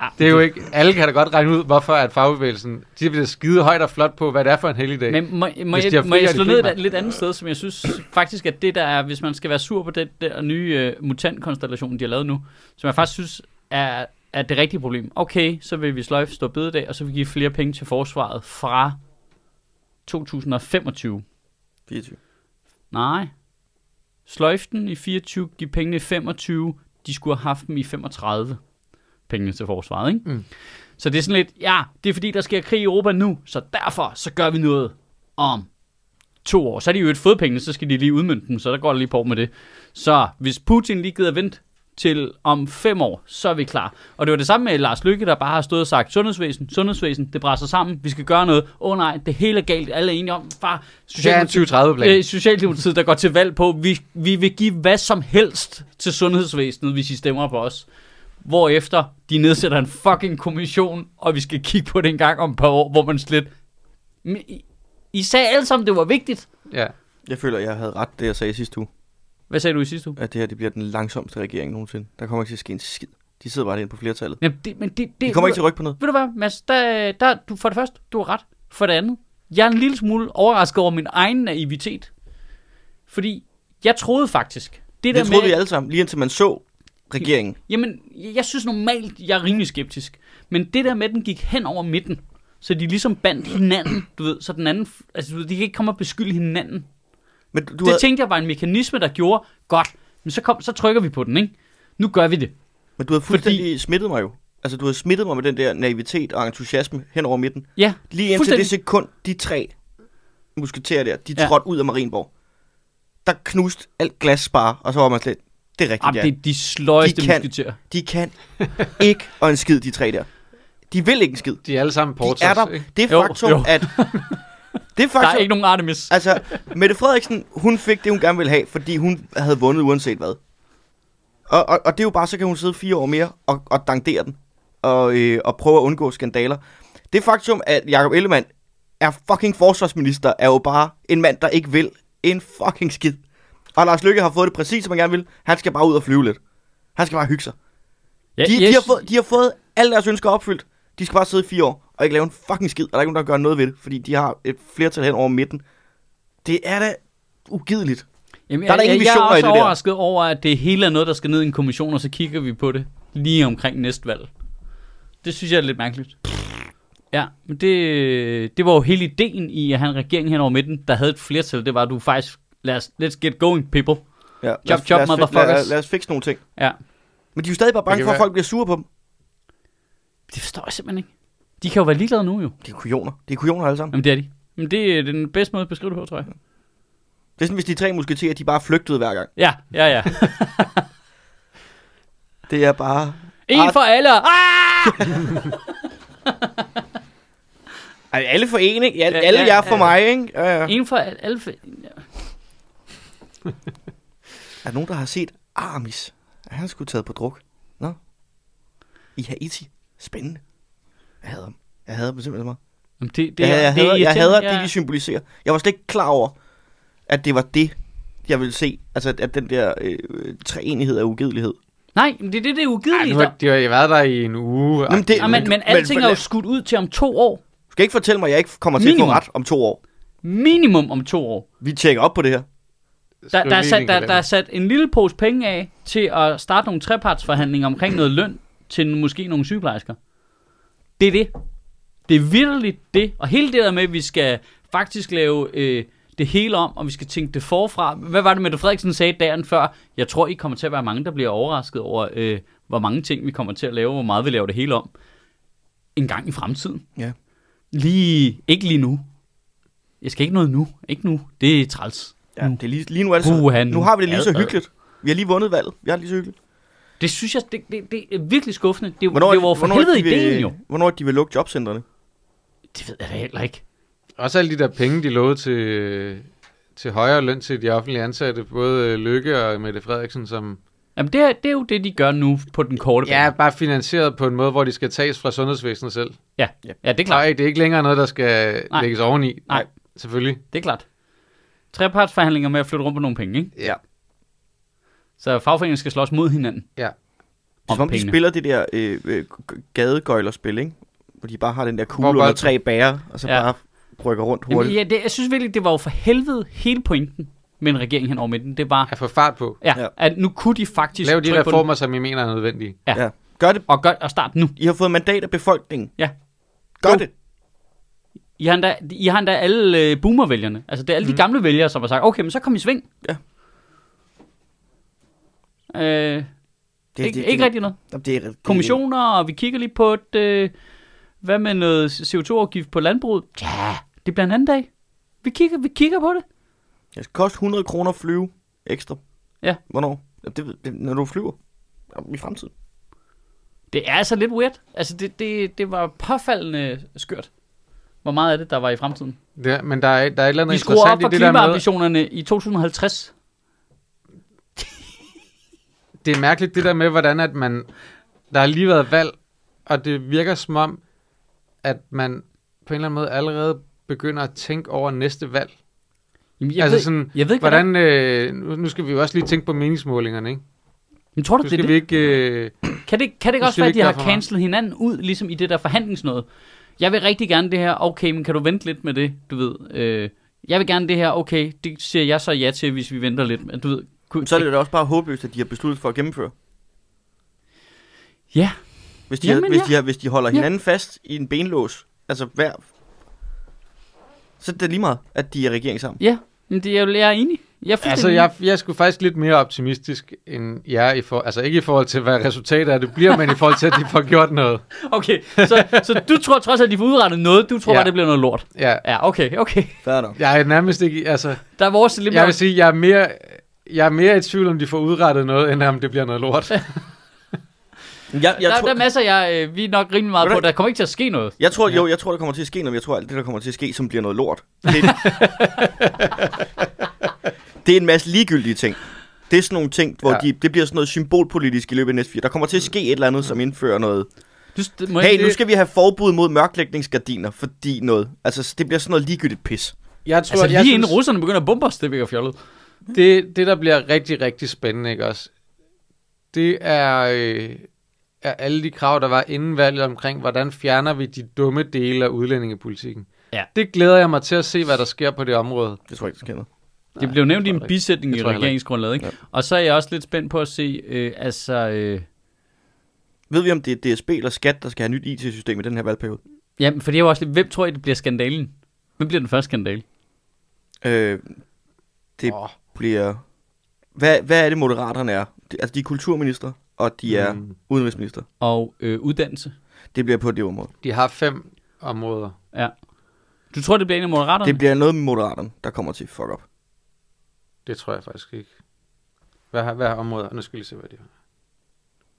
S1: Ah,
S2: Det er jo ikke, alle kan da godt regne ud, hvorfor at fagbevægelsen, de bliver skide højt og flot på, hvad det er for en helligdag.
S1: Men må, må,
S2: Hvis de
S1: jeg,
S2: har
S1: må jeg
S2: frier, de
S1: slå ned et
S2: griber.
S1: lidt andet sted, som jeg synes faktisk, at det der er, hvis man skal være sur på den der nye uh, mutantkonstellation, de har lavet nu, som jeg faktisk synes er, er det rigtige problem. Okay, så vil vi sløjfe stå bededag, og så vil vi give flere penge til forsvaret fra 2025.
S3: 24.
S1: Nej. Sløjf den i 24, giv pengene i 25. De skulle have haft dem i 35. Pengene til forsvaret, ikke?
S2: Mm.
S1: Så det er sådan lidt, ja, det er fordi, der sker krig i Europa nu, så derfor, så gør vi noget om to år. Så er de jo et fået pengene, så skal de lige udmynde dem, så der går der lige på med det. Så hvis Putin lige gider vente til om fem år, så er vi klar. Og det var det samme med Lars Lykke, der bare har stået og sagt, sundhedsvæsen, sundhedsvæsen, det brænder sig sammen, vi skal gøre noget. Åh oh, nej, det hele er galt, alle er enige om, far,
S2: det er en 2030-plan.
S1: Øh, Socialdemokratiet, der går til valg på, vi, vi vil give hvad som helst til sundhedsvæsenet, hvis I stemmer på os. Hvorefter de nedsætter en fucking kommission, og vi skal kigge på det en gang om et par år, hvor man slet... Men I, I sagde alle sammen, det var vigtigt.
S2: Ja.
S3: Jeg føler, jeg havde ret, det jeg sagde sidste uge,
S1: Hvad sagde du i sidste uge?
S3: at det her det bliver den langsomste regering nogensinde. Der kommer ikke til at ske en skid. De sidder bare derinde på flertallet.
S1: Jamen, det, men det, det,
S3: De kommer ikke til at rykke på noget.
S1: Ved du hvad, Mads? Der, der, du, for det første, du har ret. For det andet, jeg er en lille smule overrasket over min egen naivitet. Fordi jeg troede faktisk... Det, der
S3: Det troede
S1: med,
S3: vi alle sammen, lige indtil man så regeringen.
S1: Jamen, jeg jeg synes normalt, jeg er rimelig skeptisk. Men det der med, at den gik hen over midten, så de ligesom bandt hinanden, du ved, så den anden, f- altså du ved, de kan ikke komme og beskylde hinanden.
S3: Men du,
S1: Du
S3: du
S1: det
S3: havde,
S1: tænkte jeg var en mekanisme, der gjorde, godt, men så, kom, så trykker vi på den, ikke? Nu gør vi det.
S3: men du havde fuldstændig fordi... smittet mig jo. Altså, du havde smittet mig med den der naivitet og entusiasme hen over midten.
S1: Ja,
S3: Lige indtil
S1: Fuldstændig.
S3: det sekund, de tre musketerer der, de
S1: Ja.
S3: ja. trådte ud af Marienborg. Der knuste alt glas bare, og så var man slet, det er rigtigt,
S1: Jamen, det
S3: ja.
S1: er de sløjeste
S3: De kan.
S1: musketerer.
S3: De kan ikke og en skid, de tre der. De vil ikke en skid.
S2: De er alle sammen
S3: De
S2: porters.
S3: er der.
S2: ikke?
S3: Det er
S1: Jo,
S3: faktum,
S1: jo.
S3: at... Det er
S1: Der er ikke
S3: faktum,
S1: nogen Artemis.
S3: altså, Mette Frederiksen, hun fik det, hun gerne ville have, fordi hun havde vundet uanset hvad. Og, og, og det er jo bare, så kan hun sidde fire år mere og, og dankdere den, og, øh, og prøve at undgå skandaler. Det faktum, at Jacob Ellemann er fucking forsvarsminister, er jo bare en mand, der ikke vil en fucking skid. Og Lars Lykke har fået det præcis, som han gerne vil. Han skal bare ud og flyve lidt. Han skal bare hygge sig.
S1: Ja,
S3: De, yes. de, har fået, de har fået alle deres ønsker opfyldt. De skal bare sidde i fire år og ikke lave en fucking skid, og der er ikke nogen, der gør noget ved det, fordi de har et flertal hen over midten. Det er da ugideligt.
S1: Jamen,
S3: Der er da
S1: jeg-
S3: ingen
S1: jeg-
S3: visioner
S1: Jeg er
S3: i
S1: også
S3: det der.
S1: overrasket over, at det hele er noget, der skal ned i en kommission, og så kigger vi på det lige omkring næste valg. Det synes jeg er lidt mærkeligt. Ja, men det, det var jo hele ideen i at have en regering hen over midten, der havde et flertal. Det var, at du faktisk, lad os, let's get going, people.
S3: Ja, lad os-
S1: Job, job,
S3: lad os fi-
S1: motherfuckers.
S3: Lad, lad os fikse nogle ting.
S1: Ja,
S3: Men de er jo stadig bare
S2: Det
S3: bange
S2: kan
S3: for, at
S2: være-
S3: folk bliver sure på dem.
S1: det forstår jeg simpelthen ikke. De kan jo være ligeglade nu jo.
S3: Det er kujoner. Det er kujoner alle sammen.
S1: Jamen det er de. Men det er den bedste måde at beskrive det på, tror jeg.
S3: Det er sådan, hvis de tre musketerer, de bare flygtede hver gang.
S1: Ja, ja, ja.
S3: Det er bare...
S1: En for alle. Ah!
S3: Ej, alle for en, ikke? Alle,
S1: Ja,
S3: ja, alle
S1: ja,
S3: ja, jer for
S1: ja.
S3: mig, ikke? Ja, ja.
S1: En for alle. alle for,
S3: Er der nogen, der har set Aramis? Er han skulle taget på druk? Nå? I Haiti? Spændende. Jeg hader ham. Jeg hader dem simpelthen så meget.
S1: Jamen, det, det,
S3: Det, jeg,
S1: er-
S3: jeg,
S1: det er
S3: hader, jeg
S1: irriterende.
S3: hader det, de symboliserer. Jeg var slet ikke klar over, at det var det, jeg ville se. Altså, at, at den der øh, øh, treenighed af ugidelighed.
S1: Nej, men det er det, det er
S2: Ej,
S1: ugideligt.
S2: nu har de har været der i en uge.
S3: Jamen, det-
S1: Ja, men, men
S3: Men-
S1: alting
S3: men-
S1: er jo skudt ud til om to år.
S3: Du skal ikke fortælle mig, at jeg ikke kommer til at
S1: Minimum.
S3: få ret om to år.
S1: Minimum om to år.
S3: Vi tjekker op på det
S1: Der,
S3: her.
S2: Skriv
S1: der, er
S2: lige
S1: sat,
S2: din
S1: der,
S2: kalender.
S1: der er sat en lille pose penge af til at starte nogle trepartsforhandlinger omkring noget løn til måske nogle sygeplejersker. Det er det. Det er virkelig det. Og hele det der med, at vi skal faktisk lave øh, det hele om, og vi skal tænke det forfra. Hvad var det, Mette Frederiksen sagde dagen før? Jeg tror, I kommer til at være mange, der bliver overrasket over, øh, hvor mange ting vi kommer til at lave, hvor meget vi laver det hele om. En gang i fremtiden.
S3: Ja.
S1: Lige, ikke lige nu. Jeg skal ikke noget nu. Ikke nu. Det er træls.
S3: Ja, det er lige, lige nu er det
S1: Puha,
S3: så,
S1: nu.
S3: nu har vi det lige så
S1: Mm. Ad, ad.
S3: hyggeligt. Vi har lige vundet valget. Vi har det lige så hyggeligt.
S1: Det synes jeg, det, det, det er virkelig skuffende. Det, hvornår, det var jo for helvede
S3: de vil,
S1: ideen jo.
S3: Hvornår de vil lukke jobcentrene?
S1: Det ved jeg da heller ikke.
S2: Også alle de der penge, de lovede til, til højere løn til de offentlige ansatte, både øh, Lykke og Mette Frederiksen, som
S1: Jamen, det er, det er jo det, de gør nu på den korte
S2: ja,
S1: bane.
S2: bare finansieret på en måde, hvor de skal tages fra sundhedsvæsenet selv.
S1: Ja, ja. ja, det er klart.
S2: Nej, det er ikke længere noget, der skal
S1: Nej.
S2: Nej. lægges oveni.
S1: Nej.
S2: Selvfølgelig.
S1: Det er klart. Trepartsforhandlinger med at flytte rundt på nogle penge, ikke?
S2: Ja.
S1: Så fagforeningen skal slås mod hinanden.
S2: Ja.
S3: Det er som om, de
S1: pengene.
S3: spiller det der øh, øh, g- gadegøjlerspil, ikke? Hvor de bare har den der kugle
S2: Hvor
S3: under
S2: bare-
S3: tre bærer, og så
S1: Ja.
S3: ja. bare rykker rundt
S1: Jamen,
S3: hurtigt.
S1: ja, det, jeg synes virkelig, det var jo for helvede hele pointen med en regering hen over midten. Det var,
S2: At få fart på.
S1: ja,
S3: Ja.
S1: at nu kunne de faktisk
S2: Lav de
S1: trykke på
S2: reformer, som I mener er nødvendige.
S1: ja.
S3: ja. Gør det.
S1: den, og, gør, og start nu.
S3: I har fået mandat af befolkningen.
S1: Ja.
S3: Gør
S1: Go.
S3: det.
S1: I har endda, I har endda alle øh, boomervælgerne. Altså, det er alle mm. de gamle vælgere, som har sagt, okay, men så kom i sving.
S3: Mhm. Ja.
S1: Øh,
S3: det
S1: ikke, ikke rigtig noget.
S3: Jamen, Det er, det,
S1: Kommissioner, og vi kigger lige på et... Øh, hvad med noget CO2-afgift på landbruget? Ja, det bliver en anden dag. Vi kigger, vi kigger på det.
S3: Det skal koste 100 kroner at flyve ekstra.
S1: Ja.
S3: Hvornår? Jamen, Det, ved- det, når du flyver. Jamen, I fremtiden.
S1: Det er altså lidt weird. Altså, det, det, det var påfaldende skørt. Hvor meget af det, der var i fremtiden.
S2: Det, men der er, der er et eller andet
S1: Vi skruer op
S2: interessant
S1: for
S2: i det der med...
S1: klimaambitionerne i 2050.
S2: Det er mærkeligt det der med, hvordan at man... Der har lige været valg, og det virker som om, at man på en eller anden måde allerede begynder at tænke over næste valg.
S1: Jamen,
S2: Jeg altså ved, sådan,
S1: jeg ved ikke, hvordan...
S2: hvordan... Øh, nu nu skal vi jo også lige tænke på meningsmålingerne, ikke?
S1: Men tror du,
S2: Nu
S1: det er det?
S2: skal vi ikke... Øh,
S1: Kan det, kan det ikke
S2: Nu
S1: også
S2: skal
S1: være,
S2: vi
S1: at de
S2: ikke
S1: har
S2: gøre for meget.
S1: cancelet hinanden ud, ligesom i det der forhandlingsnøde? Jeg vil rigtig gerne det her, okay, men kan du vente lidt med det, du ved? Øh, jeg vil gerne det her, okay, det siger jeg så ja til, hvis vi venter lidt. Men du ved, kunne,
S3: Men så er det da også bare håbløst, at de har besluttet for at gennemføre.
S1: Ja,
S3: Hvis de, Jamen,
S1: Jamen,
S3: hvis,
S1: ja.
S3: de har, hvis de holder
S1: Ja.
S3: hinanden fast i en benlås, altså hver, så er det lige meget, at de er regering sammen.
S1: ja, men det er jo, jeg er enig. Jeg er
S2: altså,
S1: fuldstændig
S2: jeg, jeg skulle faktisk lidt mere optimistisk end jer, i for, altså ikke i forhold til, hvad resultatet af det bliver, men i forhold til, at de får gjort noget.
S1: enig. Okay, så, så du tror trods alt, at de får udrettet noget, du tror ja.
S2: Ja.
S1: bare, det bliver noget lort.
S2: Ja,
S1: Ja, okay, okay.
S3: Fair nok.
S2: jeg er nærmest ikke... Altså,
S1: Der er vores lidt
S2: jeg
S1: mere...
S2: vil sige, jeg er mere... Jeg er mere i tvivl, om de får udrettet noget, end om det bliver noget lort.
S3: Jeg,
S1: Der,
S3: jeg,
S1: der er
S3: tror,
S1: masser, jeg, øh, vi er nok rimelig meget på.
S3: Hvordan-
S1: Der kommer ikke til at ske noget.
S3: jeg tror, jo, jeg tror, der kommer til at ske noget, men jeg tror, alt det, der kommer til at ske, som bliver noget lort. Det er, det er en masse ligegyldige ting. Det er sådan nogle ting, hvor
S2: Ja. Mm.
S3: ja. de, det bliver sådan noget symbolpolitisk i løbet af næste fire. Der kommer til at ske et eller andet, som indfører noget
S1: Du, det, må
S3: Hey,
S1: ikke,
S3: nu skal vi have forbud mod mørklægningsgardiner, fordi noget. Altså, det bliver sådan noget ligegyldigt pis.
S2: Jeg tror,
S1: Altså,
S2: at
S1: lige
S2: jeg
S1: synes... inden
S2: synes,
S1: russerne begynder at bombe os, det virker fjollet.
S2: det, det, der bliver rigtig, rigtig spændende, ikke også? Det er, øh, er alle de krav, der var inden valget omkring, hvordan fjerner vi de dumme dele af udlændingepolitikken.
S1: Ja.
S2: Det glæder jeg mig til at se, hvad der sker på det område.
S3: Det tror jeg ikke, det sker noget.
S1: Det blev nævnt i
S2: tror
S1: en
S2: jeg ikke.
S1: bisætning
S2: Det
S1: i
S2: tror jeg heller ikke.
S1: regeringsgrundlaget, ikke? Og så er jeg også lidt spændt på at se, øh, altså... Øh,
S3: Ved vi, om det er DSB eller skat, der skal have nyt IT-system i den her valgperiode?
S1: jamen, for det er jo også lidt, hvem tror I, det bliver skandalen? Hvem bliver den første skandale?
S3: Øh, det
S2: Åh.
S3: oh. bliver... Hvad, hvad er det, moderaterne er? Det, altså, de er kulturminister, og de er
S2: Mm.
S3: mm. udenrigsminister.
S1: Og øh, uddannelse?
S3: Det bliver på det område.
S2: De har fem områder.
S1: Ja. Du tror, det bliver en af moderaterne?
S3: Det bliver noget med moderaterne, der kommer til fuck op.
S2: Det tror jeg faktisk ikke. Hvad har, hvad har områder? Nu skal jeg lige se, hvad de har.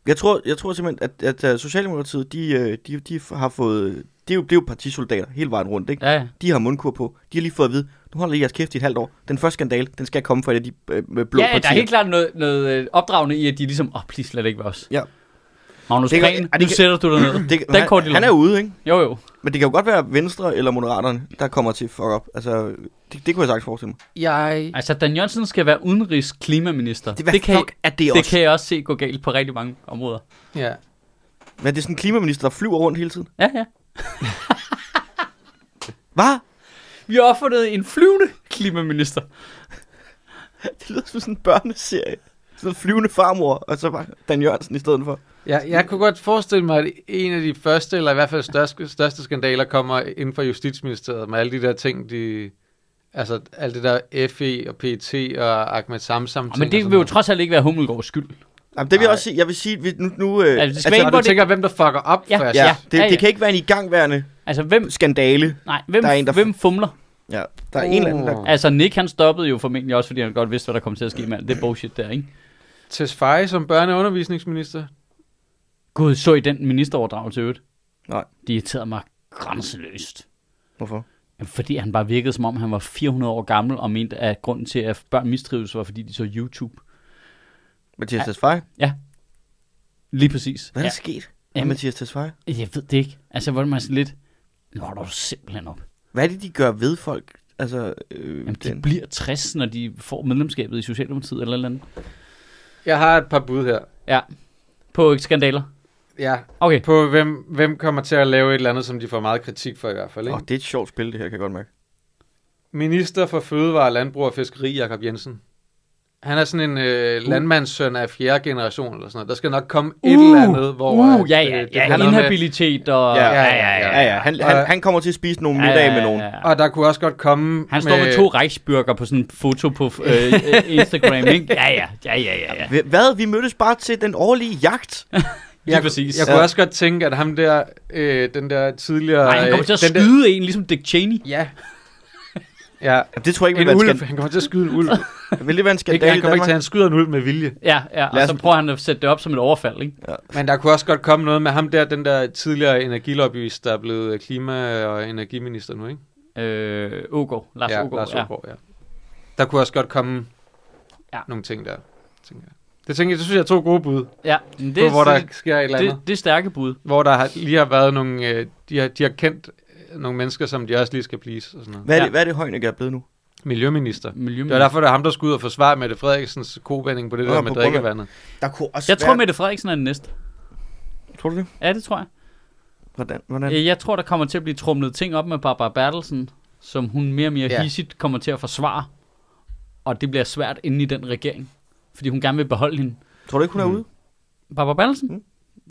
S3: Jeg tror, jeg tror simpelthen, at, at øh, Socialdemokratiet, de, øh, de, de har fået... Det er, jo, det er jo partisoldater hele vejen rundt, ikke?
S1: Ja, ja.
S3: De har mundkur på. De har lige fået at vide, nu holder I jeres kæft i et halvt år. Den første skandale, den skal komme fra et af de øh, med blå
S1: ja, ja, der
S3: partier.
S1: er helt klart noget, noget øh, opdragende i, at de ligesom, åh, oh, please, lad det ikke være os.
S3: Ja.
S1: Magnus
S3: Det kan-
S1: Prehn,
S3: Ej, det
S1: nu
S3: kan-
S1: sætter du dig ned.
S3: Det,
S1: Den kort i
S3: han, han er ude, ikke?
S1: Jo, jo.
S3: Men det kan jo godt være Venstre eller Moderaterne, der kommer til fuck op. Altså, det, det kunne jeg sagtens forestille mig.
S2: Jeg...
S1: Altså, Dan Jørgensen skal være udenrigs klimaminister.
S3: Det, hvad det
S1: kan,
S3: fuck er det
S1: det
S3: også?
S1: kan jeg også se gå galt på rigtig mange områder.
S2: Ja.
S3: Hvad er det sådan en klimaminister, der flyver rundt hele tiden?
S1: Ja, ja.
S3: Hvad?
S1: Vi har opfundet en flyvende klimaminister.
S3: Det lyder som sådan en børneserie. Sådan en flyvende farmor, og så bare Dan Jørgensen i stedet for.
S2: Jeg, jeg kunne godt forestille mig, at en af de første, eller i hvert fald største, største skandaler, kommer inden for Justitsministeriet med alle de der ting, de, altså alt det der FE og PET og Ahmed Samsam.
S1: Og men det vil jo trods alt ikke være Hummelgaards skyld.
S3: Jamen, det vil jeg
S2: Nej.
S3: også sige. Jeg vil sige, vi, nu... nu øh,
S1: Altså, det skal
S3: altså,
S1: være
S2: Altså,
S1: en-
S2: og du tænker, hvem der fucker op
S1: Ja,
S2: først.
S3: ja, det,
S1: Ja, ja.
S3: det kan ikke være en igangværende
S1: Altså, hvem,
S3: skandale.
S1: nej, hvem,
S3: Der
S1: der
S3: er en, der-
S1: hvem fumler?
S3: Ja, der er en eller anden, der...
S1: Altså, Nick han stoppede jo formentlig også, fordi han godt vidste, hvad der kom til at ske med alt det bullshit der, ikke?
S2: Tesfaye som børne- og undervisningsminister.
S1: Gud, så I den ministeroverdragelse i øvrigt?
S3: Nej.
S1: Det irriterede mig grænseløst.
S3: Hvorfor?
S1: Jamen, Fordi han bare virkede, som om han var 400 år gammel, og mente, at grunden til, at børn mistrives, var, fordi de så YouTube.
S3: Mathias Tesfaye?
S1: Lige præcis.
S3: Hvad er der sket med
S1: Jamen-
S3: Mathias Tesfaye?
S1: Ja, jeg ved det ikke. Altså, hvor er man sådan lidt... Nu holder du simpelthen op.
S3: Hvad er det, de gør ved folk? Altså, øh,
S1: Jamen, de
S3: den.
S1: bliver 60, når de får medlemskabet i Socialdemokratiet eller et eller andet.
S2: Jeg har et par bud her.
S1: Ja. På skandaler.
S2: Ja.
S1: Okay.
S2: På hvem, hvem kommer til at lave et eller andet, som de får meget kritik for i hvert fald. Ikke?
S3: Åh, det er et sjovt spil, det her, kan jeg godt mærke.
S2: Minister for Fødevare, Landbrug og Fiskeri, Jakob Jensen. Han er sådan en øh,
S1: Uh.
S2: landmandssøn af fjerde generation eller sådan noget. Der skal nok komme et eller andet, hvor...
S1: Uh,
S2: at,
S1: ja,
S2: øh,
S1: ja,
S2: det bliver
S1: ja.
S2: noget med-
S1: Inhabilitet og...
S3: Ja,
S2: ja, ja, ja.
S3: Ja, ja. Han, han, han kommer til at spise nogle middage med nogen.
S2: Og der kunne også godt komme...
S1: Han står med to Reichsbürger på sådan en foto på øh, øh, Instagram, ikke? Ja, ja, ja, ja, ja. ja.
S3: Hva- Hvad? Vi mødtes bare til den årlige jagt.
S1: Lige præcis.
S2: Jeg kunne
S3: Ja.
S2: også godt tænke, at ham der, øh, den der tidligere...
S1: Nej, han kommer til at
S2: øh, den
S1: skyde en, ligesom Dick Cheney.
S2: Der, ja. Ja,
S3: Jamen, det tror jeg ikke
S2: en
S3: vil være en
S2: ulv.
S3: skandal.
S2: Han kommer til at skyde en ulv.
S3: Vil det være en
S2: Ikke,
S3: skandal i
S2: han kommer ikke
S3: Danmark?
S2: til, at han skyder en ulv med vilje.
S1: Ja, ja, og
S3: Lad os-
S1: så prøver han at sætte det op som et overfald, ikke?
S2: Men der kunne også godt komme noget med ham der, den der tidligere energilobbyist, der er blevet øh, klima- og energiminister nu, ikke?
S1: Øh, Ågaard, Lars
S2: ja,
S1: Ågaard,
S2: Lars
S1: ja.
S2: Ågaard, ja. Der kunne også godt komme
S1: Ja.
S2: ja. nogle ting der, tænker jeg. Det, tænker jeg, det synes jeg er to gode bud, det,
S1: Ja, men det,
S2: på, hvor der
S1: det,
S2: sker et eller andet.
S1: det, det er stærke bud.
S2: Hvor der har, lige har været nogle... Øh, de, har, de har kendt øh, nogle mennesker, som de også lige skal please og sådan noget.
S3: Hvad er
S1: Ja.
S3: det, hvad er det Højnækker er blevet nu?
S2: Miljøminister. Det var
S1: Miljøminister.
S2: derfor, det er ham, der skulle ud og forsvare Mette Frederiksens kobænding på det
S3: Nå,
S2: der
S3: på
S2: med
S3: grund af-
S2: drikkevandet.
S3: Der kunne også
S1: Jeg tror, Mette Frederiksen er den næste.
S3: Tror du det?
S1: Ja, det tror jeg.
S3: Hvordan? Hvordan?
S1: Øh, Jeg tror, der kommer til at blive trumlet ting op med Barbara Bertelsen, som hun mere og mere ja.
S2: Ja.
S1: hissigt kommer til at forsvare. Og det bliver svært inde i den regering, fordi hun gerne vil beholde hende.
S3: Tror du ikke, hun
S1: hmm.
S3: er ude?
S1: Barbara Bertelsen?
S3: Mm.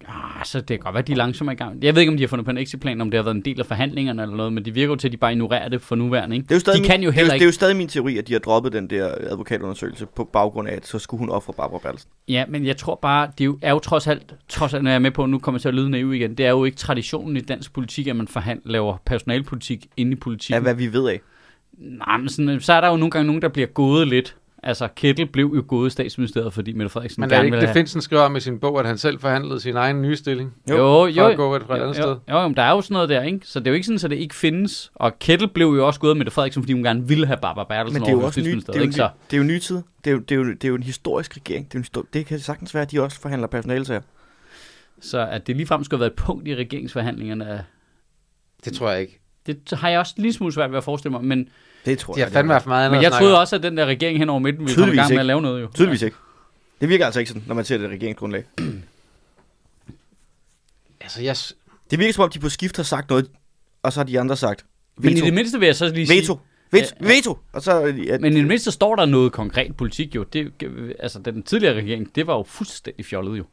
S1: Ja, så det kan godt være, de er langsomme i gang. Jeg ved ikke, om de har fundet på en exitplan, om det har været en del af forhandlingerne eller noget, men det virker jo til, at de bare ignorerer det for nuværende. Ikke?
S3: Det er jo stadig
S1: de kan
S3: min,
S1: jo
S3: det er,
S1: heller
S3: det er
S1: ikke.
S3: jo stadig min teori, at de har droppet den der øh, advokatundersøgelse på baggrund af, at så skulle hun ofre Barbara Bertelsen.
S1: Ja, men jeg tror bare, det er jo, er jo trods alt, trods alt, når jeg er med på, at nu kommer jeg til at lyde naiv igen, det er jo ikke traditionen i dansk politik, at man forhandler, laver personalpolitik inde i politikken.
S3: Af hvad vi ved af.
S1: Nej, men sådan, så er der jo nogle gange nogen, der bliver gået lidt. Altså, Kettel blev jo gået i statsministeriet, fordi Mette Frederiksen
S2: Men er det
S1: gerne
S2: ikke,
S1: ville
S2: det
S1: have...
S2: Finsen skriver om i sin bog, at han selv forhandlede sin egen nye stilling?
S1: Jo,
S3: Jo,
S1: jo,
S2: for
S1: jo,
S2: at gå et- fra et
S1: jo,
S2: andet
S1: jo,
S2: sted.
S1: jo, jo, men der er jo sådan noget der, ikke? Så det er jo ikke sådan, at det ikke findes. Og Kettel blev jo også gået af Mette Frederiksen, fordi hun gerne ville have Barbara Bertelsen
S3: Men det er jo
S1: over
S3: også ny, det
S1: justitsministeriet,
S3: er jo,
S1: ikke? Så,
S3: ny- det er jo nye tid. Det er jo, det, er jo, det er jo en historisk regering. Det, er jo en histor- det kan sagtens være, at de også forhandler personalesager.
S1: Så at det ligefrem skulle have været et punkt i regeringsforhandlingerne, er-
S2: Det tror jeg ikke.
S1: det har jeg også en lille smule svært ved at forestille mig. Men,
S3: Det tror
S2: De
S3: jeg.
S2: har fandme haft meget andet
S1: men
S2: at
S1: jeg
S2: snakke
S1: troede
S2: om.
S1: også, at den der regering hen over midten ville komme i
S3: Tydeligvis
S1: gang med
S3: ikke.
S1: at lave noget jo.
S3: Tydeligvis ikke. Det virker altså ikke sådan, når man ser det regeringsgrundlag.
S2: Altså, jeg, s-
S3: Det virker som om, de på skift har sagt noget, og så har de andre sagt veto.
S1: Men i det mindste vil jeg så lige sige...
S3: veto. Veto. Veto. Og så... Ja,
S1: Men i det mindste står der noget konkret politik jo. Det, altså, den tidligere regering, det var jo fuldstændig fjollet jo.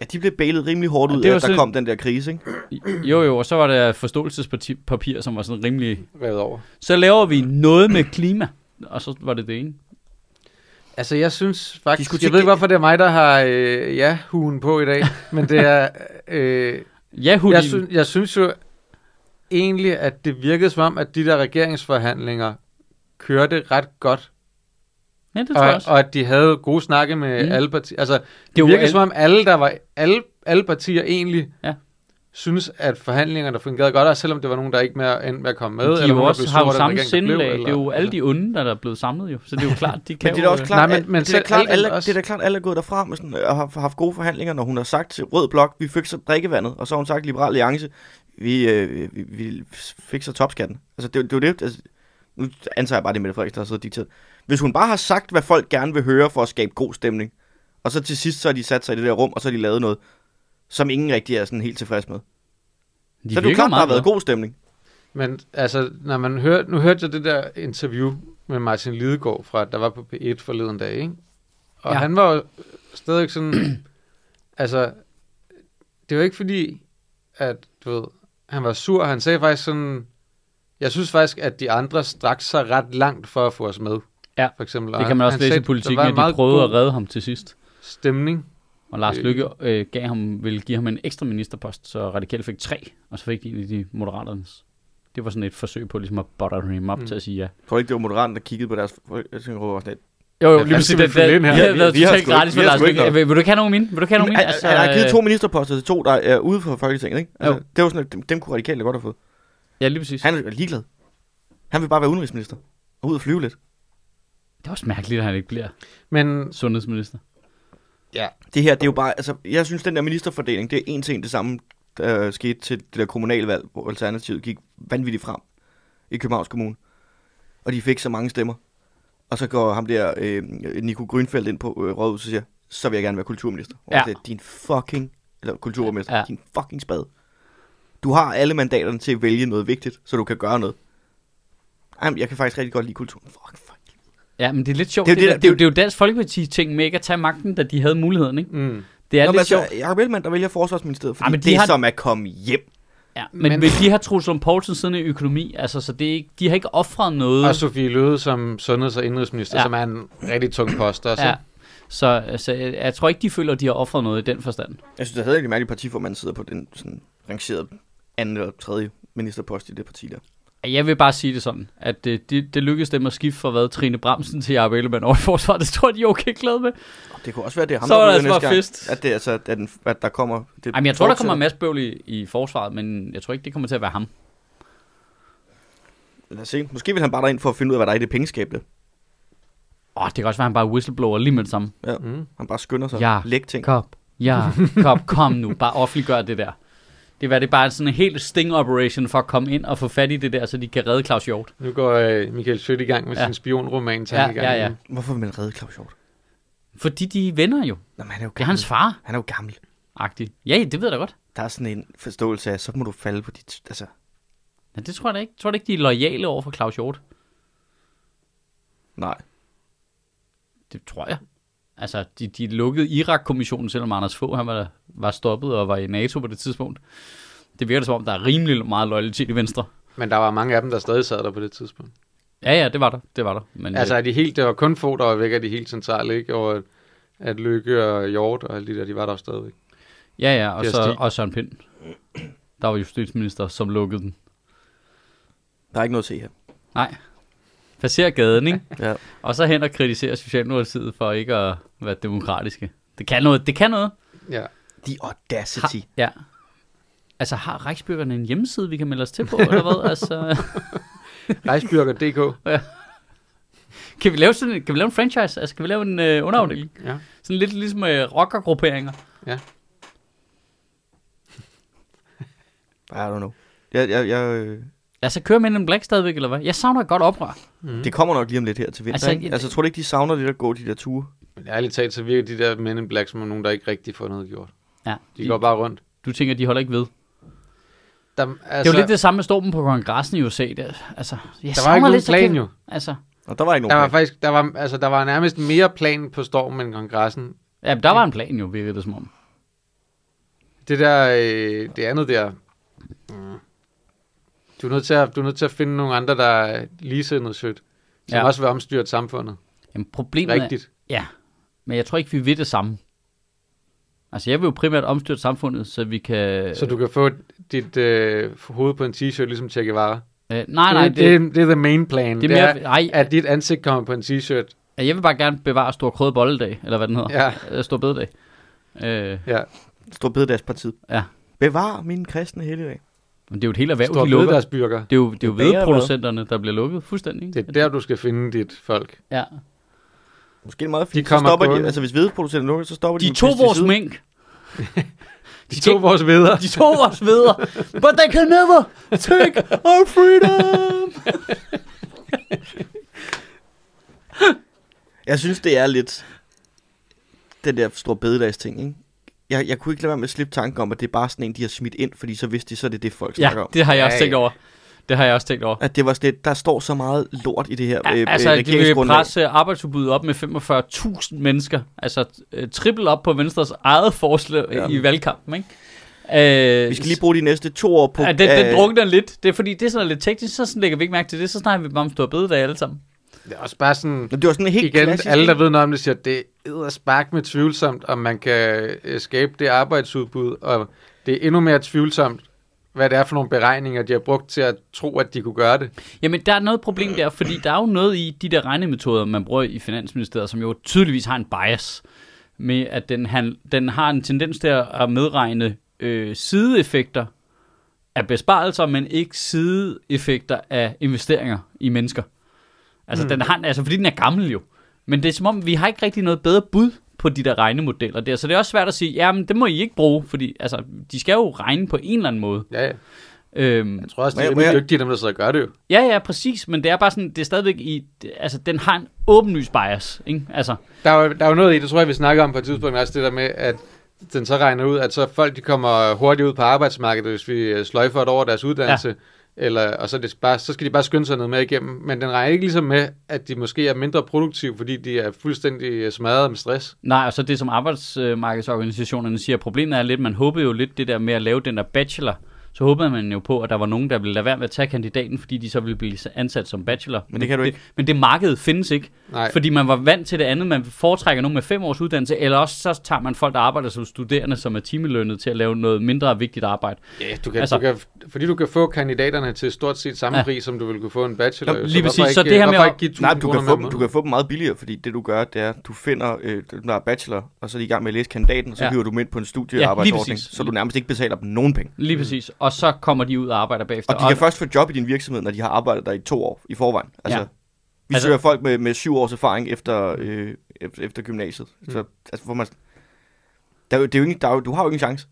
S3: ja, de blev bailet rimelig hårdt
S1: Og
S3: ud
S1: det
S3: af,
S1: var
S3: at der
S1: sådan-
S3: kom den der krise, ikke?
S1: Jo jo, og så var der forståelsespapir, som var sådan rimelig...
S2: revet over.
S1: Så laver vi noget med klima. Og så var det det ene.
S2: Altså, jeg synes
S3: De skulle
S2: faktisk... Jeg
S3: til-
S2: ved ikke, hvorfor det er mig, der har øh, ja-huen på i dag, men det er... Øh,
S1: Ja, hun...
S2: jeg, synes, jeg synes jo egentlig, at det virkede som om, at de der regeringsforhandlinger kørte ret godt.
S1: Ja, det tror jeg
S2: Og,
S1: også.
S2: og at de havde gode snakke med
S1: Mm.
S2: mm. alle partier. Altså, det,
S1: var
S2: det virkede
S1: alle-
S2: som om alle, der var, alle, alle partier egentlig
S1: Ja.
S2: synes, at forhandlingerne fungerede godt, også selvom det var nogen, der ikke mere, endte med at komme med.
S1: Men de
S2: eller
S1: jo
S2: nogen, der
S1: også
S2: blev
S1: har
S2: sure,
S1: jo
S2: da
S1: samme
S2: regeringen der blev,
S1: sindelag.
S2: eller-
S1: det er jo alle de onde, der er blevet samlet jo. Så det er jo klart, de kan
S3: Men det er da også
S1: jo, øh,
S3: klart,
S2: Nej,
S3: Nej,
S2: men-
S3: men,
S2: men
S3: men det, er
S2: selv
S3: da klart,
S2: Allianz
S3: alle,
S2: også.
S3: det er da klart, alle er gået derfra med sådan, og har har haft gode forhandlinger, når hun har sagt til Rød Blok, vi fikser drikkevandet, og så har hun sagt Liberal Alliance, vi, øh, vi, vi fikser topskatten. Altså, det, er jo- det er jo det. Altså, nu antager jeg bare, det er Mette Frederiksen, der har siddet og dikteret. Hvis hun bare har sagt, hvad folk gerne vil høre for at skabe god stemning, og så til sidst så har de sat sig i det der rum, og så har de lavet noget, som ingen rigtig er sådan helt tilfreds med.
S1: de
S3: så er det jo
S1: virker
S3: klart, der har
S1: meget
S3: været
S1: bedre.
S3: god stemning.
S2: Men altså, når man hører, nu hørte jeg det der interview med Martin Lidegaard fra, der var på P1 forleden dag, ikke? Og
S1: Ja.
S2: ja. han var jo stadigvæk sådan, altså, det var ikke fordi, at, du ved, han var sur, han sagde faktisk sådan, jeg synes faktisk, at de andre strakte sig ret langt for at få os med.
S1: Ja,
S2: for eksempel.
S1: Det kan man også læse i politikken, at de prøvede at redde ham til sidst.
S2: Stemning.
S1: Og Lars
S2: Øh.
S1: Lykke øh, gav ham, ville give ham en ekstra ministerpost, så Radikale fik tre, og så fik de en af de moderaternes. Det var sådan et forsøg på ligesom at butter him op mm.
S2: Mm.
S1: til at sige ja.
S3: Jeg tror ikke, det var Moderaterne, der kiggede på deres folk. Jeg tænker, det var sådan et-
S1: Jo, jo, lige
S2: Hvad fanden
S1: præcis.
S2: skal vi
S1: altså, Det, det,
S2: fylde
S1: det,
S2: ind her?
S1: det,
S3: Vi-
S1: det,
S3: vi
S1: det
S3: har
S1: totalt
S3: sgu ikke-
S1: gratis
S3: vi
S1: for
S3: har
S1: Lars
S3: sgu ikke
S1: Løkke.
S3: noget.
S1: Vil, vil du ikke have nogen mine? Vil du ikke have nogen
S3: Jamen,
S1: mine?
S3: altså, han har givet to ministerposter til to, der er ude for Folketinget, ikke? Altså,
S1: Jo.
S3: det var sådan, at dem, dem kunne radikale godt have fået.
S1: Ja, lige præcis.
S3: Han er ligeglad. Han vil bare være udenrigsminister. Og ud og flyve lidt.
S1: Det er også mærkeligt, at han ikke bliver
S2: Men
S1: sundhedsminister.
S2: ja,
S3: Det her, det er jo bare... Altså, jeg synes, den der ministerfordeling, det er en ting det samme, der skete til det der kommunalvalg, hvor Alternativet gik vanvittigt frem i Københavns Kommune. Og de fik så mange stemmer. Og så går ham der, øh, Nico Grønfeldt, ind på øh, rådhuset og siger, så vil jeg gerne være kulturminister. Og
S1: Ja.
S3: ja. det er din fucking... Eller kulturminister.
S1: Ja.
S3: Ja. Din fucking spade. Du har alle mandaterne til at vælge noget vigtigt, så du kan gøre noget. Jamen, jeg kan faktisk rigtig godt lide kulturen. Fuck, fuck.
S1: Ja, men det er lidt sjovt.
S3: Det er jo
S1: Det,
S3: det,
S1: der-
S3: der-
S1: det, er jo- det er jo Dansk Folkeparti-ting med ikke at tage magten, da de havde muligheden, ikke?
S2: mm.
S1: Det er
S3: Nå, men
S1: lidt sjovt.
S3: altså, Jacob Ellemann, der vælger forsvarsministeriet, fordi
S1: Ah,
S3: ja,
S1: men
S3: men
S1: de
S3: det
S1: har-
S3: har... som er kommet hjem.
S1: Ja, men, men
S2: Men-
S1: vil de have Truls Lund Poulsen siden i økonomi? Altså, så det er ikke, de har ikke offret noget.
S2: og Sofie Løde som sundheds- og indrigsminister,
S1: Ja.
S2: ja. som er en rigtig tung post også.
S1: ja.
S2: Ja.
S1: Så altså, jeg jeg tror ikke, de føler, at de har offret noget i den forstand.
S3: Jeg synes, det havde ikke mærkeligt partiformand sidder på den sådan rangerede anden eller tredje ministerpost i det parti der.
S1: Jeg vil bare sige det sådan, at det, det, det lykkedes dem at skifte fra hvad, Trine Bramsen til Jacob Ellemann over i forsvaret. Det tror jeg, de er okay glade med.
S3: Og det kunne også være, det er ham,
S1: Så var
S3: der
S1: der
S3: ryger
S1: altså bare
S3: næste gang,
S1: fest.
S3: At, det, er altså, at, den, at der kommer... Det
S1: Ej, men jeg tror, der kommer
S3: fortsætter.
S1: masser bøvl i, i forsvaret, men jeg tror ikke, det kommer til at være ham.
S3: Lad os se. Måske vil han bare derind for at finde ud af, hvad der er i det pengeskab. Der.
S1: Åh, det kan også være, han bare er whistleblower lige med det samme.
S2: Mm.
S3: Han bare skynder sig.
S1: Ja.
S3: Ja. Læg ting.
S1: Kop, ja, kop, kom nu. Bare offentliggør det der. Det var det er bare sådan en helt sting operation for at komme ind og få fat i det der, så de kan redde Claus Hjort.
S2: Nu går øh, Michael Schødt i gang med
S1: Ja.
S2: ja. sin spionroman.
S1: Ja, ja, ja.
S3: Hvorfor vil man redde Claus Hjort?
S1: Fordi de er venner jo.
S3: Nå, men han er jo
S1: Det er
S3: gammel.
S1: hans far
S3: Han er jo gammel.
S1: -agtigt. Ja, det ved jeg da godt.
S3: Der er sådan en forståelse af, så må du falde på dit... Altså,
S1: Ja, det tror jeg da ikke. Jeg tror da ikke, de er lojale over for Claus Hjort.
S3: nej.
S1: Det tror jeg. Altså, de, de lukkede Irak-kommissionen, selvom Anders Fogh han var, var stoppet og var i NATO på det tidspunkt. Det virker som om, der er rimelig meget loyalitet i Venstre.
S2: Men der var mange af dem, der stadig sad der på det tidspunkt.
S1: Ja, ja, det var der. Det var der. Men,
S2: Altså,
S1: øh,
S2: er de helt, det var kun få, der var væk af de helt centrale, ikke? Og at, at Lykke og Hjort og alle de der, de var der jo stadigvæk.
S1: øh, ja, ja, og,
S2: det er
S1: så,
S2: Stig.
S1: og Søren Pind. Der var justitsminister, som lukkede den.
S3: Der er ikke noget at se her.
S1: Nej. Passer gaden, ikke?
S3: Ja.
S1: Og så hen og kritisere Socialdemokratiet for ikke at være demokratiske. Det kan noget. Det kan noget.
S2: Ja.
S3: The audacity.
S1: Har- ja. Altså, har Reichsbyrgerne en hjemmeside, vi kan melde os til på, eller hvad? Altså,
S2: Rejsbyrger.dk.
S1: kan, vi lave sådan, en- kan vi lave en franchise? Altså, kan vi lave en øh, underafdeling?
S2: Ja.
S1: Sådan lidt ligesom øh, rockergrupperinger.
S2: Ja.
S3: I don't know. Jeg, jeg, jeg, øh,
S1: Altså, kører Men in Black stadigvæk, eller hvad? Jeg savner et godt oprør.
S2: Mm.
S3: det kommer nok lige om lidt her til vinter,
S1: Altså,
S3: altså, ikke?
S1: jeg-
S3: Altså, tror du ikke, de savner lidt at gå de der ture?
S2: Men ærligt talt, så virker de der Men in Black som nogen, der ikke rigtig får noget gjort.
S1: Ja,
S2: De går bare rundt.
S1: du tænker, de holder ikke ved.
S2: Der,
S1: Altså,
S2: altså,
S1: det er jo lidt det samme med stormen på kongressen i USA. Der, altså, jeg
S2: der var ikke
S1: savner
S2: nogen
S1: lidt, så
S2: plan
S1: kan-
S2: jo.
S1: Altså,
S3: Nå, der var ikke
S2: Der var
S3: nogen.
S2: faktisk, der var, altså, der var nærmest mere plan på stormen end kongressen.
S1: ja, men der var en plan jo, virkede det som om.
S2: Det der, øh, det andet der, mm. du er, nødt til at, du er nødt til at finde nogle andre, der er ligesindede sødt, som
S1: Ja.
S2: ja. også vil omstyrte samfundet.
S1: Jamen, problemet er,
S2: Rigtigt.
S1: Ja, men jeg tror ikke, vi vil det samme. Altså, jeg vil jo primært omstyrte samfundet, så vi kan...
S2: Så du kan få dit øh, hoved på en t-shirt, ligesom Che Guevara.
S1: Øh, nej, nej,
S2: det, det, det, det er the main plan.
S1: det
S2: Det
S1: er mere...
S2: er,
S1: Nej,
S2: at dit ansigt kommer på en t-shirt.
S1: jeg vil bare gerne bevare Stor Krøde Bolledag, eller hvad den hedder.
S2: Ja,
S1: Øh, Stor Bededag. Øh,
S2: ja.
S3: Stor bededagspartiet.
S1: Ja.
S3: Bevar min kristne helligdag.
S1: men det er jo et helt erhverv,
S2: Stor
S1: de lukker.
S2: deres byrker.
S1: Det er jo, det er jo
S3: Det bager,
S1: vedproducenterne, der bliver lukket fuldstændig. ikke?
S2: Det er der, du skal finde dit folk.
S1: Ja.
S3: Måske er det meget fint.
S2: De
S3: så
S2: kommer
S3: stopper de,
S2: gående.
S3: altså hvis hvedeproducenterne lukker, så stopper de,
S1: De
S3: med
S1: tog vores
S3: pesticider.
S1: mink.
S2: De
S1: skal
S2: tog
S1: ikke-
S2: vores veder.
S1: De tog vores veder. But they can never take our freedom.
S3: Jeg synes, det er lidt den der store bededags ting, ikke? Jeg, jeg kunne ikke lade være med at slippe tanken om, at det er bare sådan en, de har smidt ind, fordi så vidste de, så er det det, folk
S1: Ja,
S3: snakker om.
S1: det har jeg også
S2: Ja,
S1: tænkt
S2: ja.
S1: over. Det har jeg også tænkt over.
S3: At det var sådan lidt, der står så meget lort i det her
S1: Ja,
S3: øh,
S1: altså,
S3: øh,
S1: de vil
S3: regeringsgrundlag.
S1: presse arbejdsudbuddet op med 45.000 mennesker. Altså, øh, triple op på Venstres eget forslag ja.
S3: Ja.
S1: i valgkampen, ikke? Øh,
S3: Vi skal lige bruge de næste to år på...
S1: Ja, den,
S3: øh,
S1: den drukner lidt. Det er fordi, det er sådan lidt teknisk, så sådan lægger vi ikke mærke til det. Så snakker vi bare om store bededag alle sammen.
S2: Det er også bare sådan...
S3: Men det var sådan en helt
S2: igen,
S3: klassisk...
S2: alle der ved noget om det, siger, at det er spark med tvivlsomt, om man kan øh, skabe det arbejdsudbud, og det er endnu mere tvivlsomt, hvad det er for nogle beregninger, de har brugt til at tro, at de kunne gøre det.
S1: Jamen, der er noget problem der, fordi der er jo noget i de der regnemetoder, man bruger i Finansministeriet, som jo tydeligvis har en bias med, at den, han, den har en tendens til at medregne øh, sideeffekter af besparelser, men ikke sideeffekter af investeringer i mennesker. Altså, mm. den har, altså fordi den er gammel jo. Men det er som om, vi har ikke rigtig noget bedre bud på de der regnemodeller der. Så det er også svært at sige, jamen det må I ikke bruge, fordi altså, de skal jo regne på en eller anden måde.
S2: Ja, ja.
S1: Øhm,
S2: Jeg tror også, de
S3: Men-
S2: er
S3: men jeg-
S2: rimelig dygtige, dem der sidder og gør det jo.
S1: Ja, ja, præcis, men det er bare sådan, det er stadigvæk i, det- altså den har en åbenlys bias, ikke? Altså,
S2: Der er, jo- der er jo noget i, det tror jeg, vi snakker om på et tidspunkt, også det der med, at den så regner ud, at så folk de kommer hurtigt ud på arbejdsmarkedet, hvis vi øh, sløjfer et år deres uddannelse, ja. eller, og så, er det bare, så skal de bare skynde sig noget med igennem. Men den regner ikke ligesom med, at de måske er mindre produktive, fordi de er fuldstændig øh, smadret med stress.
S1: nej, og så det som arbejdsmarkedsorganisationerne siger, problemet er lidt, man håbede jo lidt det der med at lave den der bachelor, så håbede man jo på, at der var nogen, der ville lade være med at tage kandidaten, fordi de så ville blive ansat som bachelor.
S3: Men det kan du ikke.
S1: Men det marked findes ikke,
S2: Nej.
S1: fordi man var vant til det andet. Man foretrækker nogen med fem års uddannelse, eller også så tager man folk, der arbejder som studerende, som er timelønnet til at lave noget mindre vigtigt arbejde.
S2: Ja, du kan,
S1: Altså-
S2: altså, du kan, fordi du kan få kandidaterne til stort set samme
S1: Ja.
S2: ja. pris, som du ville kunne få en bachelor.
S1: Nå,
S2: jo.
S1: lige
S2: hvorfor
S1: præcis. Så
S2: ikke-
S1: det her med
S2: hvorfor
S1: at-
S2: ikke give 1000
S3: Nej, du kan,
S2: kroner
S3: få
S2: mere
S3: dem,
S2: om
S3: du
S2: måneden?
S3: kan få dem meget billigere, fordi det du gør, det er, at du finder øh, den der bachelor, og så er de i gang med at læse kandidaten, og så
S1: Ja.
S3: ja. hiver du dem ind på en
S1: Ja, lige
S3: studiearbejdsordning,
S1: præcis.
S3: så du nærmest ikke betaler dem nogen penge.
S1: Lige præcis. Og så kommer de ud og arbejder bagefter.
S3: Mm. Og de kan først få job i din virksomhed, når de har arbejdet der i to år i forvejen. Altså,
S1: Ja.
S3: ja.
S1: Altså-
S3: Vi altså, søger folk med, med syv års erfaring efter, øh, efter, efter gymnasiet.
S1: Mm.
S3: Så, altså, hvor man, der, er jo- det er jo ingen, der er jo, du har jo ingen chance.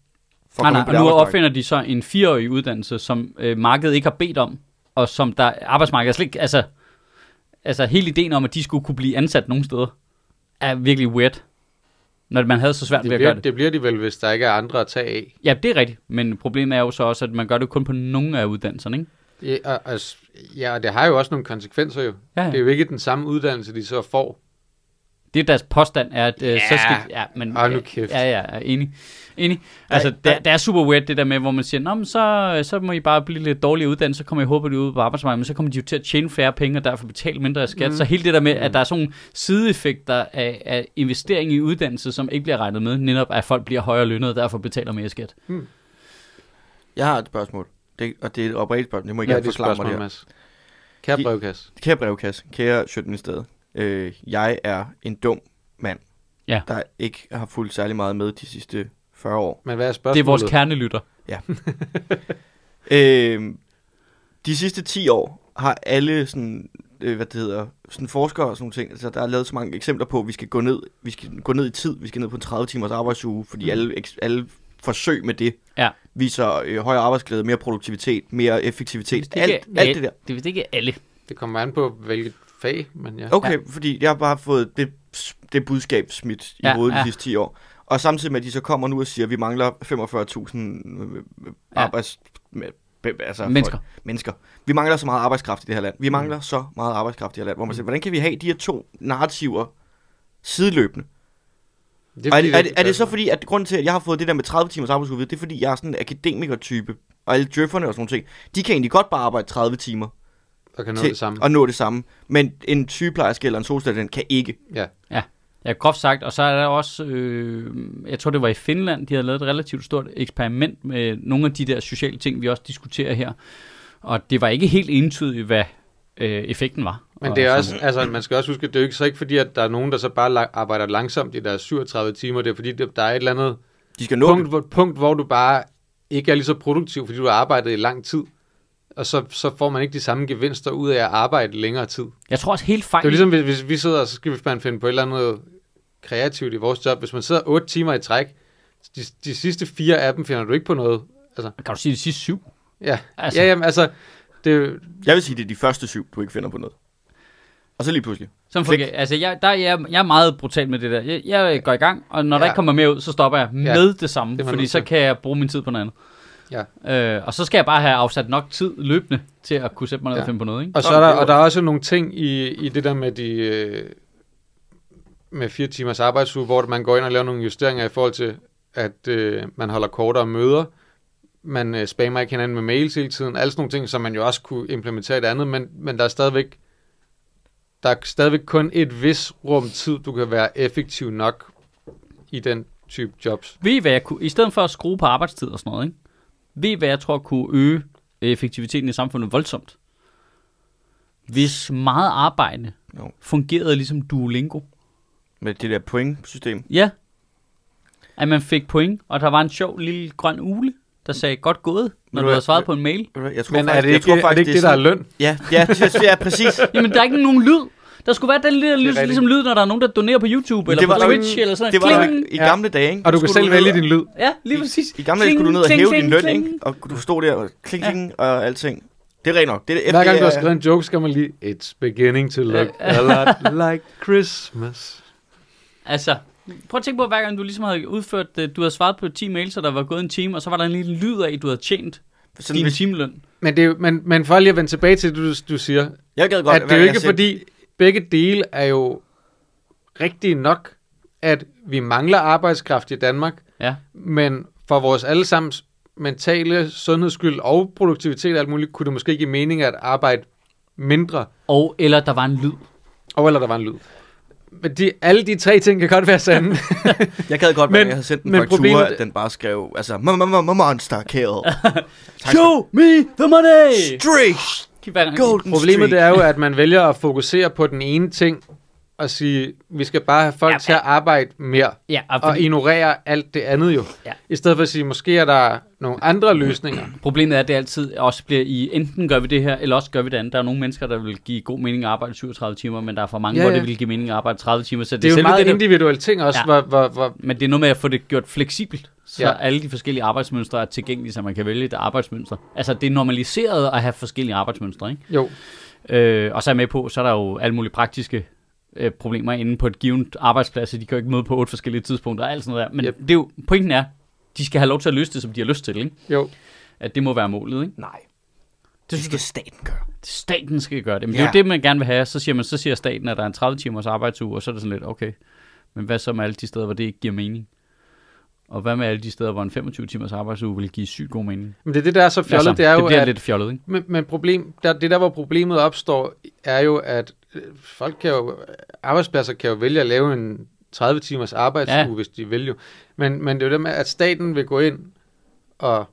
S3: For
S1: Nej,
S3: at komme
S1: nej,
S3: ind på
S1: og
S3: det
S1: nu
S3: arbejdsmarked.
S1: opfinder de så en fireårig uddannelse, som øh, markedet ikke har bedt om, og som der arbejdsmarkedet slet ikke, altså, altså hele ideen om, at de skulle kunne blive ansat nogle steder, er virkelig weird, når man havde så svært ved
S2: det
S1: at gøre
S2: bliver,
S1: det.
S2: det bliver de vel, hvis der ikke er andre at tage af.
S1: Ja, det er rigtigt, men problemet er jo så også, at man gør det kun på nogle af uddannelserne, ikke?
S2: Ja, og, og, s- ja, og det har jo også nogle konsekvenser jo.
S1: Ja,
S2: Det
S1: ja.
S2: er jo ikke den samme uddannelse, de så får.
S1: Det er deres påstand, er, at øh, så
S2: Ja.
S1: skal... Ja, men, øh,
S2: Hold nu kæft.
S1: Ja, ja, ja, enig. enig. Altså, det, er- det er super weird, det der med, hvor man siger, Nå, men så, øh, så må I bare blive lidt dårligere uddannet, så kommer I håber ud på arbejdsmarkedet, men så kommer de jo til at tjene færre penge, og derfor betale mindre af skat. Mm. Så hele det der med, at der er sådan nogle sideeffekter af, af investering i uddannelse, som ikke bliver regnet med, netop at folk bliver højere lønnet, og derfor betaler mere i skat.
S3: Jeg har et spørgsmål, det, og det er et oprigtigt spørgsmål. Det må I
S2: Ja,
S3: gerne
S2: det er
S3: forklare mig
S2: spørgsmål,
S3: det her.
S2: Mads. Kære
S3: De-
S2: brevkasse.
S3: Kære brevkasse, kære Sjøtministeriet, øh, jeg er en dum mand,
S1: Ja.
S3: der ikke har fulgt særlig meget med de sidste 40 år.
S2: Men hvad er spørgsmålet?
S1: Det er vores kernelytter.
S3: Øh, de sidste 10 år har alle sådan, øh, hvad det hedder, sådan forskere og sådan nogle ting, altså der er lavet så mange eksempler på, at vi skal gå ned, vi skal gå ned i tid, vi skal ned på en 30 timers arbejdsuge, fordi alle, eks- alle forsøg med det
S1: Mm. Ja.
S3: viser øh, højere arbejdsglæde, mere produktivitet, mere effektivitet,
S1: Det er
S3: alt,
S1: ikke-
S3: alt det der.
S1: Det er vist ikke alle.
S2: Det kommer an på, hvilket fag, men ja.
S3: Okay, ja. fordi jeg har bare fået det, det budskab smidt i
S1: Ja,
S3: ja, hovedet
S1: ja.
S3: de sidste 10 år. Og samtidig med, at de så kommer nu og siger, at vi mangler 45.000 øh, øh,
S1: Ja.
S3: arbejds... Med, be- altså
S1: Mennesker.
S3: Folk, mennesker. Vi mangler så meget arbejdskraft i det her land. Vi mangler mm. så meget arbejdskraft i det her land. Hvor man siger, hvordan kan vi have de her to narrativer sideløbende?
S2: Det
S3: Og er,
S2: fordi,
S3: det, er, det, er det
S2: passer.
S3: så fordi, at grunden til, at jeg har fået det der med 30 timers arbejdsuge, det er fordi, jeg er sådan en akademiker-type, og alle djøfferne og sådan nogle ting, de kan egentlig godt bare arbejde 30 timer
S2: Og kan nå
S3: til
S2: det samme.
S3: at nå det samme. Men en sygeplejerske eller en socialstudent kan ikke.
S2: Ja.
S1: Ja, groft sagt. Og så er der også, øh, jeg tror det var i Finland, de havde lavet et relativt stort eksperiment med nogle af de der sociale ting, vi også diskuterer her. Og det var ikke helt entydigt, hvad øh, effekten var.
S2: Men
S1: Og
S2: det er
S1: så-
S2: også, altså, man skal også huske, at det er jo ikke så ikke fordi, at der er nogen, der så bare la- arbejder langsomt i deres 37 timer. Det er fordi, det- der er et eller andet
S3: De skal nå
S2: punkt,
S3: punkt,
S2: hvor, punkt, hvor du bare ikke er lige så produktiv, fordi du har arbejdet i lang tid. Og så, så får man ikke de samme gevinster ud af at arbejde længere tid.
S1: Jeg tror også helt fejl.
S2: Det er jo ligesom, hvis, hvis vi sidder, og så skal vi man finde på et eller andet kreativt i vores job. Hvis man sidder 8 timer i træk, de, de sidste fire af dem finder du ikke på noget. Altså,
S1: Kan du sige de sidste syv?
S2: ja,
S1: Altså.
S2: altså. ja jamen, altså, det, er jo-
S3: Jeg vil sige, det er de første syv, du ikke finder på noget. Og så lige pludselig.
S1: Sådan
S3: Klik.
S1: fungerer. Altså, jeg, der, er jeg, jeg er meget brutal med det der. Jeg, jeg øh, går i gang, og når ja. der
S2: Ja.
S1: ikke kommer mere ud, så stopper jeg med det samme,
S2: Det
S1: det
S2: er man
S1: fordi
S2: nødt
S1: så
S2: til.
S1: kan jeg bruge min tid på noget andet. Ja. Øh, og så skal jeg bare have afsat nok tid løbende til at kunne sætte mig ned ja. og
S2: Ja.
S1: finde på noget, ikke?
S2: Og så
S3: Nå,
S2: er der,
S3: det var-
S2: og der er også nogle ting i, i det der med de øh, med fire timers arbejdsuge, hvor man går ind og laver nogle justeringer i forhold til, at øh, man holder kortere møder, man øh, spammer ikke hinanden med mails hele tiden, alle sådan nogle ting, som man jo også kunne implementere i det andet, men, men der er stadigvæk der er stadigvæk kun et vis rum tid, du kan være effektiv nok i den type jobs.
S1: Ved I, hvad jeg kunne, i stedet for at skrue på arbejdstid og sådan noget, ikke? ved I, hvad jeg tror kunne øge effektiviteten i samfundet voldsomt? Hvis meget arbejde
S3: Jo.
S1: fungerede ligesom Duolingo.
S3: Med det der point-system.
S1: Ja. At man fik point, og der var en sjov lille grøn ule, der sagde, godt gået, når
S3: du
S1: du
S3: hvad,
S1: havde svaret
S3: øh,
S1: på en mail.
S3: Jeg tror
S2: Men
S3: faktisk,
S2: er det
S3: jeg
S2: ikke,
S3: tror
S2: er det,
S3: faktisk,
S2: ikke det, der er
S3: sådan-
S2: løn?
S3: Ja, ja, det, ja, præcis.
S1: Jamen, der er ikke nogen lyd. Der skulle være den lille lyd,
S2: rigtigt.
S1: ligesom lyd, når der er nogen, der donerer på YouTube, eller
S3: det
S1: på
S3: var der jo
S1: Twitch, eller sådan
S3: Det var
S1: noget.
S3: der
S1: Kling.
S3: i
S2: Ja.
S3: gamle dage, ikke?
S2: Og du kan
S3: Skulle
S2: selv
S3: ned
S2: vælge
S3: og-
S2: din lyd.
S1: Ja, lige præcis.
S3: I gamle dage
S1: Kling,
S3: skulle du ned og
S1: kling,
S3: hæve
S1: kling,
S3: din løn,
S1: kling.
S3: ikke? Og du stod der og kling, kling og alting. Det er rent nok. Det er det,
S2: Hver gang du har
S3: det er-
S2: skrevet en joke, skal man lige, it's beginning to look a lot like Christmas.
S1: Altså, prøv at tænke på, hver gang du ligesom havde udført, øh, du havde svaret på 10 mails, og der var gået en time, og så var der en lille lyd af, at du havde tjent
S3: sådan,
S1: din
S3: hvis,
S1: timeløn.
S2: Men, det er, jo- men, men for lige at vende tilbage til det, du, du siger, Godt,
S3: jeg gad godt,
S2: at det
S3: hver
S2: er jo ikke
S3: gang jeg selv-
S2: fordi, begge dele er jo rigtige nok, at vi mangler arbejdskraft i Danmark,
S1: Ja.
S2: men for vores allesammens mentale sundhedsskyld og produktivitet og alt muligt, kunne det måske give mening at arbejde mindre,
S1: Og eller der var en lyd.
S2: og eller der var en lyd. Men de, alle de tre ting kan godt være sande.
S3: Jeg gad godt, men,
S2: Men-
S3: jeg havde sendt en
S2: men
S3: faktura,
S2: problemet-
S3: at den bare skrev, altså, mamma, mamma, monster kill.
S1: Show me the money!
S3: Streak!
S1: Hver gang-
S3: Golden
S2: Problemet det
S3: streak.
S2: er jo, at man vælger at fokusere på den ene ting og sige, vi skal bare have folk
S1: Ja,
S2: ja, til at arbejde mere
S1: Ja, og
S2: og, og
S1: fordi,
S2: ignorere alt det andet jo.
S1: Ja.
S2: Ja. I stedet for at sige, måske er der nogle andre løsninger.
S1: problemet er, at det altid også bliver i, enten gør vi det her, eller også gør vi det andet. Der er nogle mennesker, der vil give god mening at arbejde 37 timer, men der er for mange, ja,
S2: Ja,
S1: hvor
S2: ja.
S1: det vil give mening at arbejde 30 timer. Så det,
S2: Det er jo en
S1: selve
S2: meget
S1: det, der-
S2: individuel ting også,
S1: Ja.
S2: ja. hvor, hvor, hvor
S1: Men det er noget med at få det gjort fleksibelt, så ja.
S2: Ja.
S1: alle de forskellige arbejdsmønstre er tilgængelige, så man kan vælge et arbejdsmønster. Altså, det er normaliseret at have forskellige arbejdsmønstre, ikke?
S2: jo,
S1: Øh, og så er jeg med på, så er der jo alle mulige praktiske øh, problemer inde på et givet arbejdsplads, så de kan jo ikke møde på otte forskellige tidspunkter og alt sådan noget der. Men yep.
S2: Yep.
S1: det er jo, pointen er, de skal have lov til at løse det, som de har lyst til, ikke?
S2: jo.
S1: At det må være målet, ikke?
S3: Nej,
S1: Det
S3: det
S1: synes jeg,
S3: skal staten gøre.
S1: staten skal gøre det. Men det er
S3: Ja.
S1: jo det, man gerne vil have. Så siger, man, så siger staten, at der er en 30 timers arbejdsuge, og så er det sådan lidt, okay, men hvad så med alle de steder, hvor det ikke giver mening? Og hvad med alle de steder, hvor en 25 timers arbejdsuge vil give sygt god mening?
S2: Men det er det, der er så fjollet,
S1: altså,
S2: altså, det er
S1: det
S2: jo,
S1: bliver
S2: at,
S1: lidt fjollet, ikke?
S2: Men, men problem, der, det der, hvor problemet opstår, er jo, at øh, folk kan jo, arbejdspladser kan jo vælge at lave en 30 timers arbejdsuge,
S1: Ja.
S2: ja. hvis de vil jo. Men, men det er jo det med, at staten vil gå ind og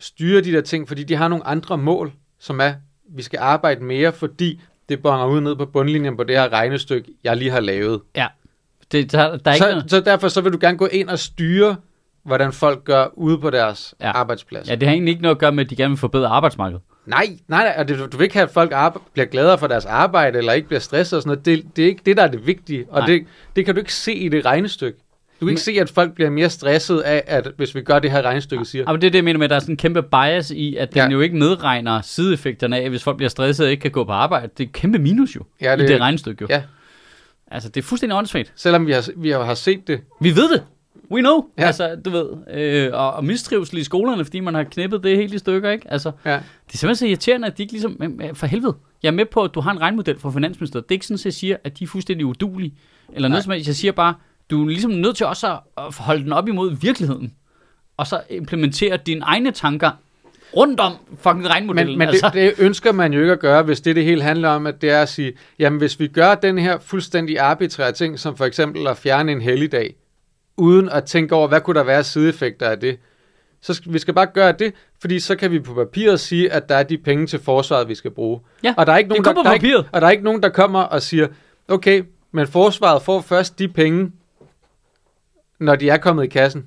S2: styre de der ting, fordi de har nogle andre mål, som er, vi skal arbejde mere, fordi det bonger ud ned på bundlinjen på det her regnestykke, jeg lige har lavet.
S1: Ja. Det, der, der er ikke
S2: Så,
S1: noget...
S2: så derfor så vil du gerne gå ind og styre, hvordan folk gør ude på deres
S1: Ja.
S2: ja. arbejdsplads.
S1: Ja, det har egentlig ikke noget at gøre med, at de gerne vil forbedre arbejdsmarkedet.
S2: Nej, nej, nej. og det- Du vil ikke have, at folk arbe- bliver gladere for deres arbejde, eller ikke bliver stresset og sådan noget. Det, det er ikke det, der er det vigtige. Og
S1: Nej.
S2: det, det kan du ikke se i det regnestykke. Du Du kan ikke se, at folk bliver mere stresset af, at hvis vi gør det her regnstykke, siger.
S1: Ja, men det er det, jeg mener med, at der er sådan en kæmpe bias i, at den ja.
S2: Ja.
S1: jo ikke medregner sideeffekterne af, hvis folk bliver stresset og ikke kan gå på arbejde. Det er et kæmpe minus jo,
S2: Ja,
S1: ja, det, i
S2: det-
S1: det regnestykke jo.
S2: Ja.
S1: Altså, det er fuldstændig åndssvagt.
S2: Selvom vi har, vi har set det.
S1: Vi ved det. We know. Ja.
S2: Ja.
S1: Altså, du ved. Øh, og, og mistrivsel i skolerne, fordi man har knippet det helt i stykker, ikke? Altså,
S2: Ja.
S1: det er simpelthen så irriterende, at de ikke ligesom... men, men, For helvede. Jeg er med på, at du har en regnmodel fra Finansministeriet. Det er ikke sådan, at jeg siger, at de er fuldstændig udulige. Eller noget
S2: Nej.
S1: som helst. Jeg siger bare, du er ligesom nødt til også at at holde den op imod virkeligheden. Og så implementere dine egne tanker rundt om fucking regnmodellen.
S2: Men, men
S1: altså.
S2: det, det ønsker man jo ikke at gøre, hvis det det hele handler om, at det er at sige, jamen hvis vi gør den her fuldstændig arbitrære ting, som for eksempel at fjerne en helligdag, uden at tænke over, hvad kunne der være sideeffekter af det, så skal, vi skal bare gøre det, fordi så kan vi på papiret sige, at der er de penge til forsvaret, vi skal bruge.
S1: Ja,
S2: og der er ikke
S1: det er
S2: nogen,
S1: kun
S2: der,
S1: på
S2: der er ikke,
S1: papiret.
S2: og der er ikke nogen, der kommer og siger, okay, men forsvaret får først de penge, når de er kommet i kassen.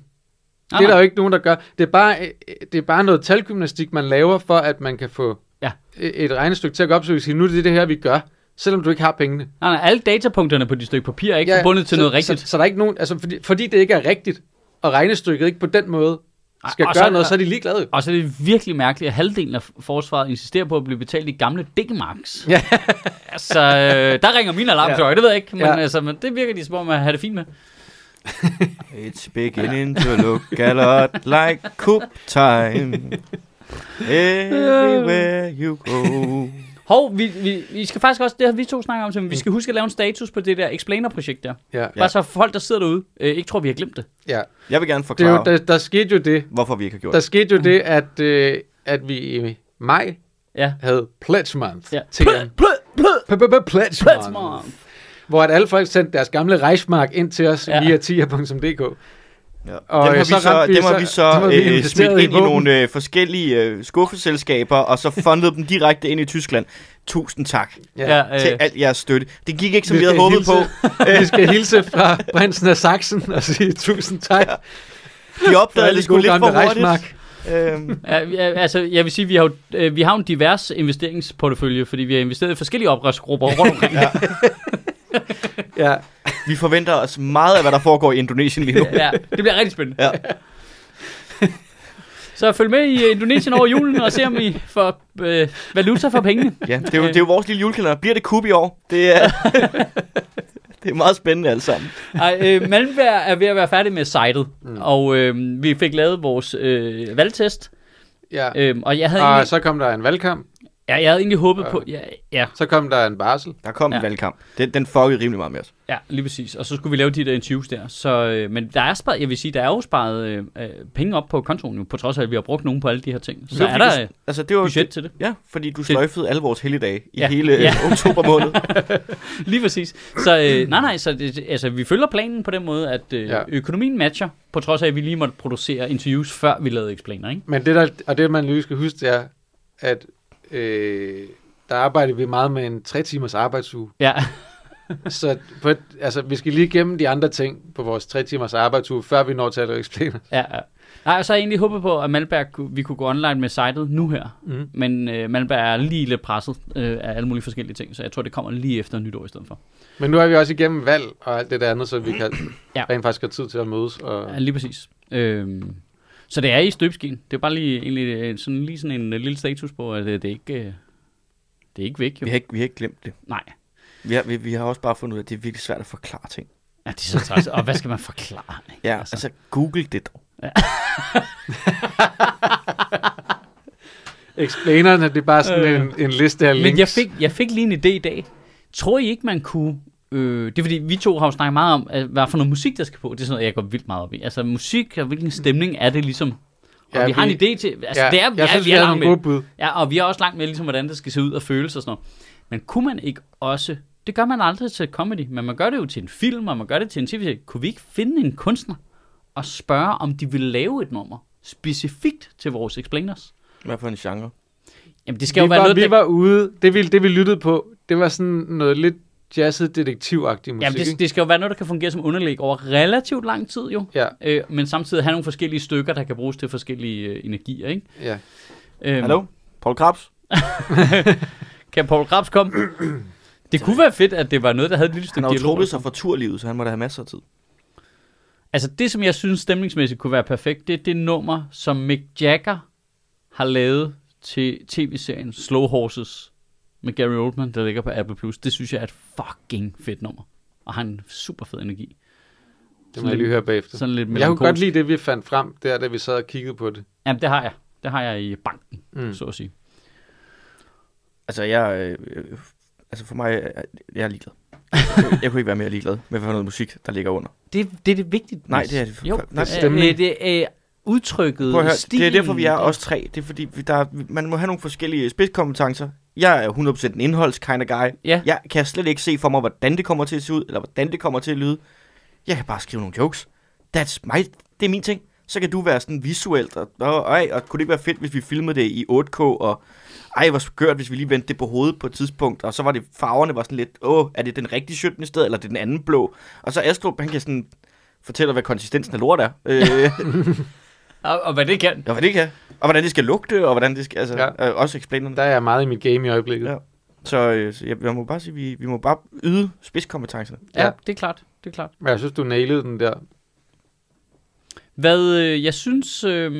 S1: Nej,
S2: Det er der
S1: nej.
S2: jo ikke nogen, der gør. Det er bare, øh, det er bare noget talgymnastik, man laver, for at man kan få e-,
S1: Ja.
S2: et et regnestykke til at gå op, så vi siger, nu er det det her, vi gør, selvom du ikke har pengene.
S1: Nej, nej, alle datapunkterne på dit stykke papir er ikke ja, forbundet til
S2: så,
S1: noget rigtigt.
S2: Så, så, der er ikke nogen, altså, fordi, fordi det ikke er rigtigt, og regnestykket ikke på den måde skal
S1: og
S2: gøre
S1: så-
S2: noget, så er de ligeglade.
S1: Og så er det virkelig mærkeligt, at halvdelen af forsvaret insisterer på at blive betalt i gamle D-marks.
S2: Ja.
S1: altså, øh, der ringer min alarmklokke, ja. det ved jeg ikke, men, ja.
S2: Ja.
S1: altså, men det virker de som om at have det fint med.
S3: It's beginning to look a lot like coop time. Everywhere you go.
S1: Hov, vi, vi, vi skal faktisk også, det har vi to snakker om, så vi skal huske at lave en status på det der Explainer-projekt der.
S2: Ja,
S1: Mm. Ja. Bare så folk, der sidder derude, øh, ikke tror, vi har glemt det.
S2: ja.
S3: Jeg vil gerne
S2: Det er jo,
S3: forklare,
S2: der, der skete jo det,
S3: hvorfor vi ikke har gjort
S2: der
S3: det.
S2: skete jo det, at, øh, at vi i maj
S1: Ja.
S2: havde Pledge Month.
S1: ja.
S2: til-
S1: Plød, plød, plød,
S2: Pledge
S1: plød,
S2: Month.
S1: smart.
S2: Hvor at alle folk sendte deres gamle rejsmark ind til os
S1: Ja.
S2: ja. via tier.dk.
S3: Ja. Dem
S2: Og,
S3: har
S2: øh,
S3: vi
S2: så
S3: så,
S2: ramte vi
S3: dem har
S2: så-
S3: vi så
S2: dem har vi
S3: øh,
S2: investeret
S3: smidt
S2: i
S3: ind i
S2: våben.
S3: nogle øh, forskellige øh, skuffeselskaber, og så fundede dem direkte ind i Tyskland. Tusind tak
S1: Ja,
S3: øh. til
S1: øh,
S3: al jeres støtte. Det gik ikke, som
S2: Vi
S3: vi havde
S2: skal
S3: håbet
S2: hilse.
S3: på.
S2: Vi skal hilse fra prinsen af Sachsen og sige tusind tak. Ja,
S3: Vi opdagede det sgu lidt for hurtigt. Øhm,
S1: Ja, vi- ja, altså, jeg vil sige, vi har jo, øh, vi har jo en divers investeringsportefølje, fordi vi har investeret i forskellige oprørsgrupper rundt omkring. ja.
S2: Ja.
S3: vi forventer os meget af, hvad der foregår i Indonesien lige nu.
S1: ja, det bliver rigtig spændende.
S3: Ja.
S1: Så følg med i øh, Indonesien over julen og se, om I får øh, valuta for pengene.
S3: Ja, det er, jo, det er jo vores lille julekalender. Bliver det kub i år? Det er, det er meget spændende alt sammen.
S1: Ej, øh, Malmberg er ved at være færdig med sitet, mm. og øh, vi fik lavet vores øh, valgtest,
S2: ja.
S1: øh, og jeg havde,
S2: Og
S1: egentlig,
S2: så kom der en valgkamp,
S1: ja, jeg havde egentlig håbet på... Ja, ja,
S2: så kom der en barsel.
S3: Der kom
S1: Ja.
S3: ja. en valgkamp. Den, den fuckede rimelig meget med os.
S1: ja, lige præcis. Og så skulle vi lave de der interviews der. Så, øh, men der er sparet, jeg vil sige, der er jo sparet øh, øh, penge op på kontoen nu, på trods af, at vi har brugt nogen på alle de her ting. Så
S3: Det var
S1: er
S3: fordi,
S1: der øh,
S3: du- altså, det var,
S1: budget til det.
S3: Ja, fordi du sløjfede alle vores helligdage i
S1: Ja.
S3: ja. hele
S1: Ja.
S3: ja. oktober måned.
S1: Lige præcis. Så øh, nej, nej, så det, altså, vi følger planen på den måde, at øh, ja.
S2: Ja.
S1: økonomien matcher, på trods af, at vi lige måtte producere interviews, før vi lavede Explainer, ikke?
S2: Men det, der, og det man lige skal huske, det er, at øh, der arbejder vi meget med en tre timers arbejdsuge.
S1: Ja,
S2: Så på et, altså, vi skal lige igennem de andre ting på vores tre timers arbejdsuge, før vi når til at eksplaner.
S1: ja, ja. Nej, og så har jeg egentlig håbet på, at Malberg, kunne- vi kunne gå online med sitet nu her. Mm.
S2: Mhm.
S1: Men øh, Malberg er lige lidt presset øh, af alle mulige forskellige ting, så jeg tror, det kommer lige efter nytår i stedet for.
S2: Men nu er vi også igennem valg og alt det der andet, så vi kan
S1: Ja.
S2: ja. rent faktisk have tid til at mødes. Og,
S1: Ja, lige præcis. Øh, så det er i støbskin. Det er bare lige, egentlig, øh, sådan, lige sådan en øh, lille status på, at øh, det er ikke... Øh, det er ikke væk, jo.
S3: Vi har ikke, vi har ikke glemt det.
S1: Nej.
S3: Vi har, vi, vi har også bare fundet ud af, at det er virkelig svært at forklare ting.
S1: Ja, det er så træls. Og hvad skal man forklare? ikke?
S3: Ja, altså, altså google det dog.
S2: Explainerne, det er bare sådan
S1: Øh.
S2: øh, en, en liste af links.
S1: Men jeg fik, jeg fik lige en idé i dag. Tror I ikke, man kunne... Øh, det er fordi, vi to har jo snakket meget om, at, hvad for noget musik, der skal på. Det er sådan noget, jeg går vildt meget op i. Altså musik, og hvilken stemning er det ligesom? Og ja,
S2: Ja,
S1: vi har en
S2: vi-
S1: idé til... Altså,
S2: ja,
S1: det er,
S2: jeg synes,
S1: vi
S2: vi
S1: er, vi er langt
S2: havde nogle
S1: med.
S2: gode bud.
S1: Ja, og vi er også langt med, ligesom, hvordan det skal se ud og føles og sådan noget. Men kunne man ikke også... Det gør man aldrig til comedy, men man gør det jo til en film, og man gør det til en tv Kunne vi ikke finde en kunstner og spørge, om de vil lave et nummer specifikt til vores explainers?
S3: Hvad for en genre?
S1: Jamen, det skal jo
S2: vi
S1: være
S2: var,
S1: noget,
S2: vi
S1: der-
S2: var ude, det vi, det vi lyttede på, det var sådan noget lidt jazzet detektivagtig musik.
S1: Jamen, det,
S2: ikke?
S1: det skal jo være noget, der kan fungere som underlæg over relativt lang tid jo.
S2: Ja,
S1: Øh, men samtidig have nogle forskellige stykker, der kan bruges til forskellige øh, energier, ikke?
S2: ja.
S1: Øh,
S3: Hallo? Paul Krabs?
S1: Kan Paul Krabs komme? Det kunne være fedt, at det var noget, der havde et lille
S3: Han
S1: stykke
S3: har jo
S1: dialog.
S3: trukket sig fra turlivet, så han må da have masser af tid.
S1: Altså det, som jeg synes stemningsmæssigt kunne være perfekt, det er det nummer, som Mick Jagger har lavet til tv-serien Slow Horses med Gary Oldman, der ligger på Apple+. Plus. Det synes jeg er et fucking fedt nummer. Og har en super fed energi.
S2: Det må jeg lige høre bagefter.
S1: Sådan lidt
S2: Men jeg kunne godt
S1: melankolsk.
S2: lide det, vi fandt frem, der da vi sad og kiggede på det.
S1: Jamen, det har jeg. Det har jeg i banken, mm.
S2: Mm.
S1: så at sige.
S3: Altså, jeg... Øh, øh, altså, for mig... øh, Jeg er ligeglad. jeg, jeg kunne ikke være mere ligeglad med, hvad for noget musik, der ligger under.
S1: Det, det er det vigtige.
S3: Nej,
S1: Mads.
S3: det er det for-
S1: Jo,
S3: nej,
S1: det er
S2: stemning.
S1: Det er øh, udtrykket,
S3: Prøv at høre,
S1: stilen.
S3: det er derfor, vi er os tre. Det er fordi, vi- der, er- man må have nogle forskellige spidskompetencer. Jeg er 100% en indholds kind of guy.
S1: Ja.
S3: Jeg kan slet ikke se for mig, hvordan det kommer til at se ud, eller hvordan det kommer til at lyde. Jeg kan bare skrive nogle jokes. That's my, det er min ting. Så kan du være sådan visuelt, og, og, og, og kunne det ikke være fedt, hvis vi filmede det i 8K, og ej, hvor skørt, hvis vi lige vendte det på hovedet på et tidspunkt, og så var det, farverne var sådan lidt, åh, er det den rigtige 17. sted, eller er det den anden blå? Og så Astrup, han kan sådan fortælle, hvad konsistensen af lort er. Øh,
S1: Og, og hvad det kan.
S3: Ja, hvad det kan. Og hvordan det skal lugte, og hvordan det skal, altså, ja.
S2: Ja.
S3: øh, også explainerne.
S2: Der er jeg meget i mit game i øjeblikket.
S3: Ja. Så, øh, så jeg, jeg, må bare sige, vi, vi må bare yde spidskompetencerne.
S1: Ja,
S2: Ja.
S1: det er klart. Det er klart.
S2: Men jeg synes, du nailede den der.
S1: Hvad øh, jeg synes... Øh,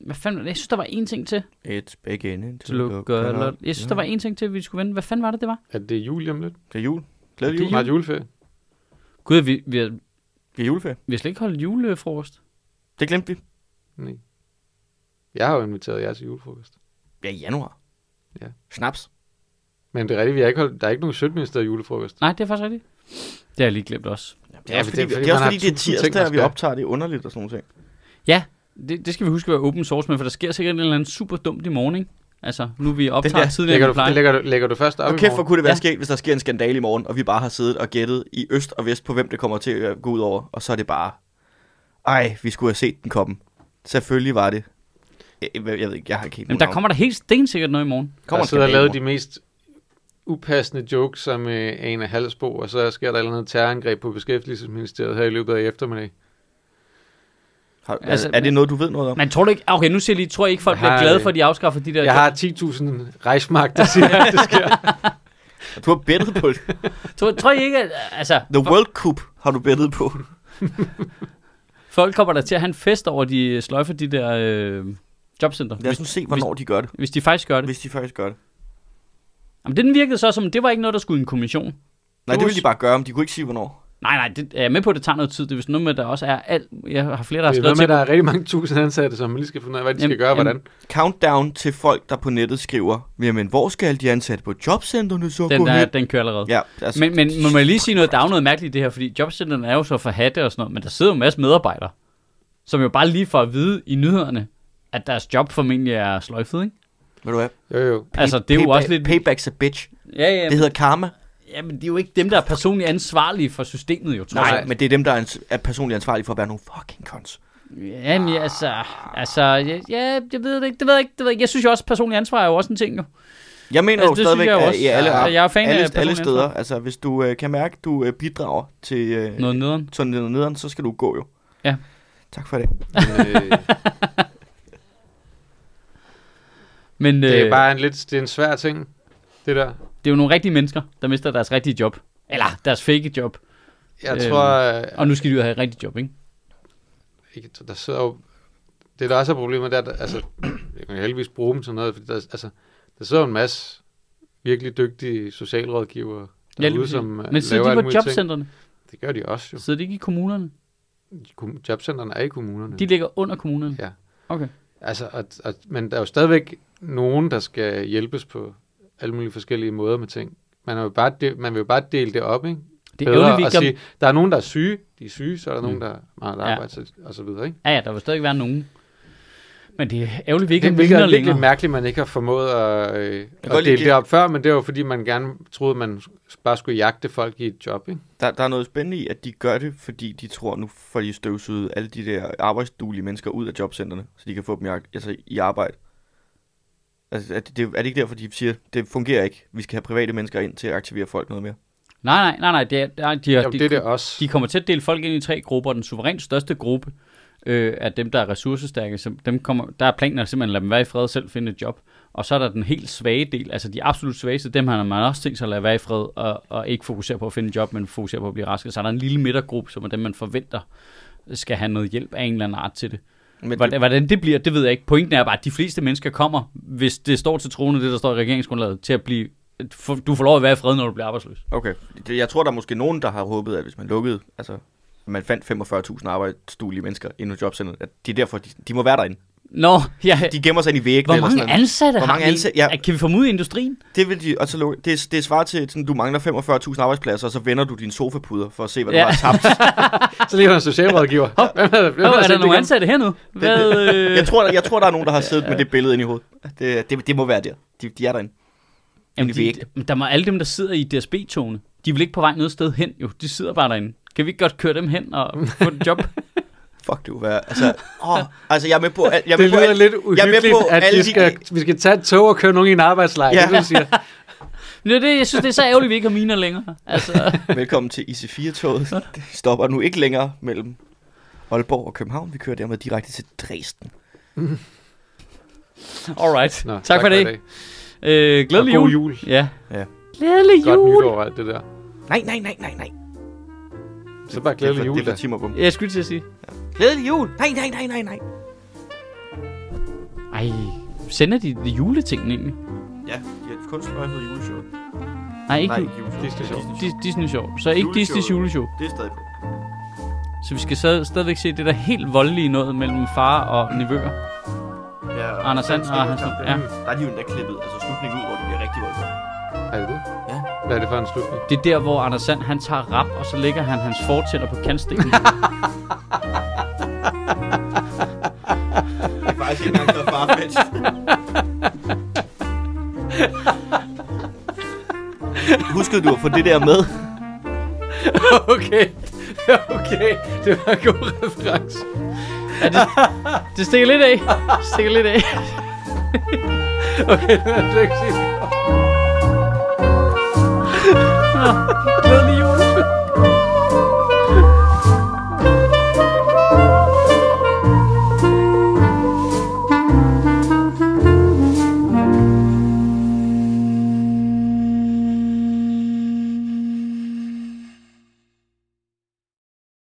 S1: hvad fanden... Jeg synes, der var en ting til.
S3: It's beginning to
S1: Look,
S3: look
S1: uh,
S3: up.
S1: lot. Jeg synes, der var en ting til, vi skulle vende. Hvad fanden var det, det var?
S2: At det er jul lige om lidt.
S3: Det er jul. Glædelig
S2: Det er
S3: jul.
S2: Snart juleferie.
S1: Gud, vi, vi, har,
S3: Det er juleferie.
S1: vi har slet ikke holdt julefrokost.
S3: Det glemte vi.
S2: Nej. Jeg har jo inviteret jer til julefrokost.
S3: Ja, i januar.
S2: Ja.
S3: Snaps.
S2: Men det er rigtigt, vi har ikke holdt, der er ikke nogen sødminister julefrokost.
S1: Nej, det er faktisk rigtigt. Det har jeg lige glemt også.
S3: Det er også
S2: fordi-
S3: fordi, det,
S2: fordi man
S3: er også
S2: har
S3: fordi, det er
S2: tusind ting,
S3: tirsdag,
S2: man
S3: og vi
S2: skal.
S3: optager det er underligt og sådan noget.
S1: Ja, det, det skal vi huske at være open source med, for der sker sikkert en eller anden super dumt i morgen, ikke? Altså, nu vi optager
S3: der
S1: tidligere,
S2: Lægger
S1: end vi
S2: du,
S1: plejer.
S2: det lægger, du, lægger du først op
S3: Og
S2: i
S3: kæft, hvor
S2: morgen?
S3: kunne det være
S1: Ja.
S3: sket, hvis der sker en skandale i morgen, og vi bare har siddet og gættet i øst og vest på, hvem det kommer til at gå ud over, og så er det bare, ej, vi skulle have set den komme. Selvfølgelig var det. Jeg, jeg ved ikke, jeg har ikke helt
S1: Jamen,
S3: nogen
S1: der kommer der helt stensikkert noget i morgen.
S2: Kommer
S3: Kommer
S2: jeg sidder og
S3: skandale
S2: lavet
S3: i
S2: de mest upassende jokes som øh, Ane Halsbo, og så sker der et eller andet terrorangreb på Beskæftigelsesministeriet her i løbet af eftermiddag.
S3: Har,
S1: Altså,
S3: altså, er det noget, du ved noget om?
S1: Men tror du ikke... ah, Okay, nu siger jeg lige, tror jeg ikke, folk
S2: Jeg
S1: bliver
S2: har,
S1: glade
S2: øh,
S1: for, at de afskaffer de der...
S2: Jeg har 10.000 rejsmark, der siger, at det sker.
S3: Du har bettet på det.
S1: Tror, tror I ikke, at... Altså,
S3: The World Cup har du bettet på.
S1: folk kommer der til at have en fest over, at de sløjfer de der øh, jobcenter.
S3: Lad
S1: Hvis,
S3: os nu se, hvornår de gør det.
S1: hvis de faktisk gør det.
S3: Hvis de faktisk gør det.
S1: Jamen, det den virkede så som, det var ikke noget, der skulle i en kommission.
S3: Nej,
S1: Du
S3: det
S1: er
S3: ville de bare gøre, men de kunne ikke sige, hvornår.
S1: Nej, nej, det, jeg er med på, at det tager noget tid. Det er vist noget med, at der også er alt. Jeg har flere, der har
S2: Det er
S1: skrevet
S2: noget med,
S1: til.
S2: at der er rigtig mange tusind ansatte, som man lige skal finde ud af, hvad de skal
S1: Jamen,
S2: gøre, og hvordan.
S3: Countdown til folk, der på nettet skriver, jamen, hvor skal alle de ansatte på jobcentrene så
S1: Den,
S3: gå
S1: der,
S3: hen?
S1: den kører allerede.
S3: Ja, altså,
S1: Men, men må man lige sige noget, der er jo noget mærkeligt i det her, fordi jobcenterne er jo så forhatte og sådan noget, men der sidder jo en masse medarbejdere, som jo bare lige får at vide i nyhederne, at deres job formentlig er sløjfet, ikke?
S3: ved du hvad?
S2: Jo, jo.
S1: Altså, det er jo
S3: Payback-
S1: også lidt...
S3: Payback's a bitch.
S1: Ja, ja,
S3: Det hedder karma.
S1: ja, men det er jo ikke dem, der er personligt ansvarlige for systemet, jo, tror
S3: Nej,
S1: jeg.
S3: men det er dem, der er, ans- er personligt ansvarlige for at være nogle fucking cons.
S1: Jamen, ja, altså, altså ja, ja, jeg ved det ikke, det ved jeg ikke, det ved jeg ikke. Jeg synes jo også, personlig ansvar er jo også en ting, jo.
S3: Jeg mener
S1: Altså,
S3: altså,
S1: det
S3: jo
S1: synes
S3: stadigvæk,
S1: jeg
S3: at
S1: også.
S3: i alle,
S1: Ja, jeg er fan af
S3: alle, alle
S1: personligt
S3: steder,
S1: ansvar.
S3: altså hvis du øh, kan mærke, du øh, bidrager til øh,
S1: Noget nederen.
S3: sådan noget nederen, så skal du gå jo.
S1: Ja.
S3: Tak for det.
S2: Øh,
S1: Men øh,
S2: det er bare en lidt, det er en svær ting, det der.
S1: det er jo nogle rigtige mennesker, der mister deres rigtige job. Eller deres fake job.
S2: Jeg
S1: Øh,
S2: tror, øh,
S1: Og nu skal de jo have et rigtigt job, ikke?
S2: ikke, der sidder jo, det der også er problemet, det er, at altså, jeg kan heldigvis bruge dem til noget, fordi der, altså, der sidder jo en masse virkelig dygtige socialrådgivere
S1: Ja,
S2: derude,
S1: lige
S2: ja,
S1: præcis.
S2: som øh,
S1: Men sidder de
S2: alle
S1: på
S2: mulige ting.
S1: jobcentrene?
S2: Det gør de også jo.
S1: Sidder de ikke i kommunerne?
S2: Kom- Jobcentrene er i kommunerne.
S1: De ligger under kommunerne?
S2: Ja.
S1: Okay.
S2: Altså, og, og, men der er jo stadigvæk nogen, der skal hjælpes på alle mulige forskellige måder med ting. Man, er jo bare de, man vil jo bare dele det op, ikke?
S1: Det er ærgerligt, vi
S2: at
S1: ikke
S2: sige, der er nogen, der er syge, de er syge, så er der
S1: Mm.
S2: nogen, der er meget
S1: Ja.
S2: arbejde, så- og så videre, ikke?
S1: Ja, ja, der vil stadig være nogen. Men det er ærgerligt, vi ikke
S2: det,
S1: har
S2: hvilket
S1: vidner
S2: er virkelig
S1: længere.
S2: mærkeligt, man ikke har formået at, øh,
S3: kan
S2: at dele
S3: godt lide
S2: det
S3: det.
S2: op før, men det var fordi, man gerne troede, man s- bare skulle jagte folk i et job, ikke?
S3: Der, der er noget spændende i, at de gør det, fordi de tror, nu får de støvsuget alle de der arbejdsduelige mennesker ud af jobcentrene, så de kan få dem i, ar- altså, i arbejde. Altså, er, det, er det ikke derfor, de siger, det fungerer ikke, vi skal have private mennesker ind til at aktivere folk noget mere?
S1: Nej, nej, nej, nej. Det er, nej de,
S2: Ja,
S1: har,
S2: Jamen,
S1: de,
S2: det er det også.
S1: de kommer til at dele folk ind i tre grupper. Den suverænt største gruppe øh, er dem, der er ressourcestærke. Så dem kommer, der er planer simpelthen at lade dem være i fred og selv finde et job. Og så er der den helt svage del, altså de absolut svageste, dem har man også tænkt sig at lade være i fred og, og ikke fokusere på at finde et job, men fokusere på at blive raske. Så er der en lille midtergruppe, som er dem, man forventer øh, skal have noget hjælp af en eller anden art til det.
S3: Men
S1: Hvordan,
S3: det,
S1: hvordan det bliver, det ved jeg ikke. Pointen er bare, at de fleste mennesker kommer, hvis det står til troende, det der står i regeringsgrundlaget, til at blive... Du får lov at være i fred, når du bliver arbejdsløs.
S3: okay. Det, jeg tror, der er måske nogen, der har håbet, at hvis man lukkede, altså at man fandt 45.000 arbejdsduelige mennesker inde på jobcenteret, at det er derfor, de, de må være derinde.
S1: Nå, ja.
S3: De gemmer sig ind i væggene
S1: Hvor
S3: eller
S1: mange
S3: sådan noget.
S1: ansatte
S3: Hvor
S1: har
S3: mange
S1: vi?
S3: ansatte- ja.
S1: Kan vi få dem ud i industrien?
S3: Det vil de, og så lukke, det, er- det svarer til, sådan, du mangler 45.000 arbejdspladser, og så vender du dine sofapuder for at se, hvad ja.
S1: Ja.
S3: du har tabt.
S2: Så lige en socialrådgiver. Hop, hvem er, hvem
S1: Nå, er
S2: sendt
S1: der nogle
S2: igennem?
S1: ansatte hernede? Hvad,
S3: Det-
S1: øh...
S3: jeg, tror, der, jeg tror, der er nogen, der har siddet med det billede inde i hovedet. Det, det, det må være der. De, de er derinde.
S1: Jamen,
S3: Men vi er
S1: de,
S3: ikke-
S1: men der må alle dem, der sidder i DSB-togene, de er vel ikke på vej noget sted hen, jo. De sidder bare derinde. Kan vi ikke godt køre dem hen og få et job?
S3: Fuck, det kunne være. Altså, åh, altså jeg er med på alt. Jeg er
S2: Det
S3: med på
S2: lyder
S3: alt.
S2: lidt
S3: Jeg er med
S2: uhyggeligt,
S3: på
S2: at
S3: alle
S2: vi
S3: de-
S2: skal, vi skal tage et tog og køre nogen i en arbejdslejr.
S3: Ja.
S2: Ja. Det, du siger.
S1: Men det, er det, jeg synes, det er så ærgerligt, at vi ikke har miner længere. Altså,
S3: Velkommen til IC4-toget. Det stopper nu ikke længere mellem Aalborg og København. Vi kører dermed direkte til Dresden.
S1: alright.
S2: Nå,
S1: tak, tak for det. Øh, glædelig
S2: Og god
S1: jul.
S2: jul.
S1: Ja.
S3: Ja.
S1: Glædelig
S2: Godt
S1: jul.
S2: nytår og alt det der.
S3: Nej, nej, nej, nej, nej.
S2: Så bare
S3: Det er
S2: glædelig
S3: for,
S2: jul.
S3: det er for
S2: da.
S3: timer på.
S1: Jeg skulle til at sige.
S3: Glædelig jul. Nej, nej, nej, nej, nej.
S1: Ej, sender de, de juleting egentlig?
S3: Ja, de har kunstnøjhed juleshow.
S1: Nej, ikke
S3: Nej,
S1: Nej.
S3: ikke juleshow.
S2: Disney show.
S1: Dis- Disney Show. Så ikke
S3: Juleshowet.
S1: Disney's juleshow.
S3: Det er stadig på.
S1: Så vi skal stadig, stadigvæk se det der helt voldelige noget mellem far og nevøer.
S3: Ja,
S1: Anders Sand og Hans. Ja.
S3: Der er de jo endda klippet, altså slutningen ud, hvor det bliver rigtig voldsomt.
S2: Er det det?
S3: Ja.
S2: Hvad er det for en slutning?
S1: Det er der, hvor Anders Sand, han tager rap, og så lægger han hans fortænder på kantstenen.
S3: Det er faktisk ikke engang noget farfetch. Huskede du at få det der med?
S2: Okay, okay. Det var en god reference.
S1: Ja, det, det stikker lidt af. Det stikker lidt af.
S2: Okay, det var en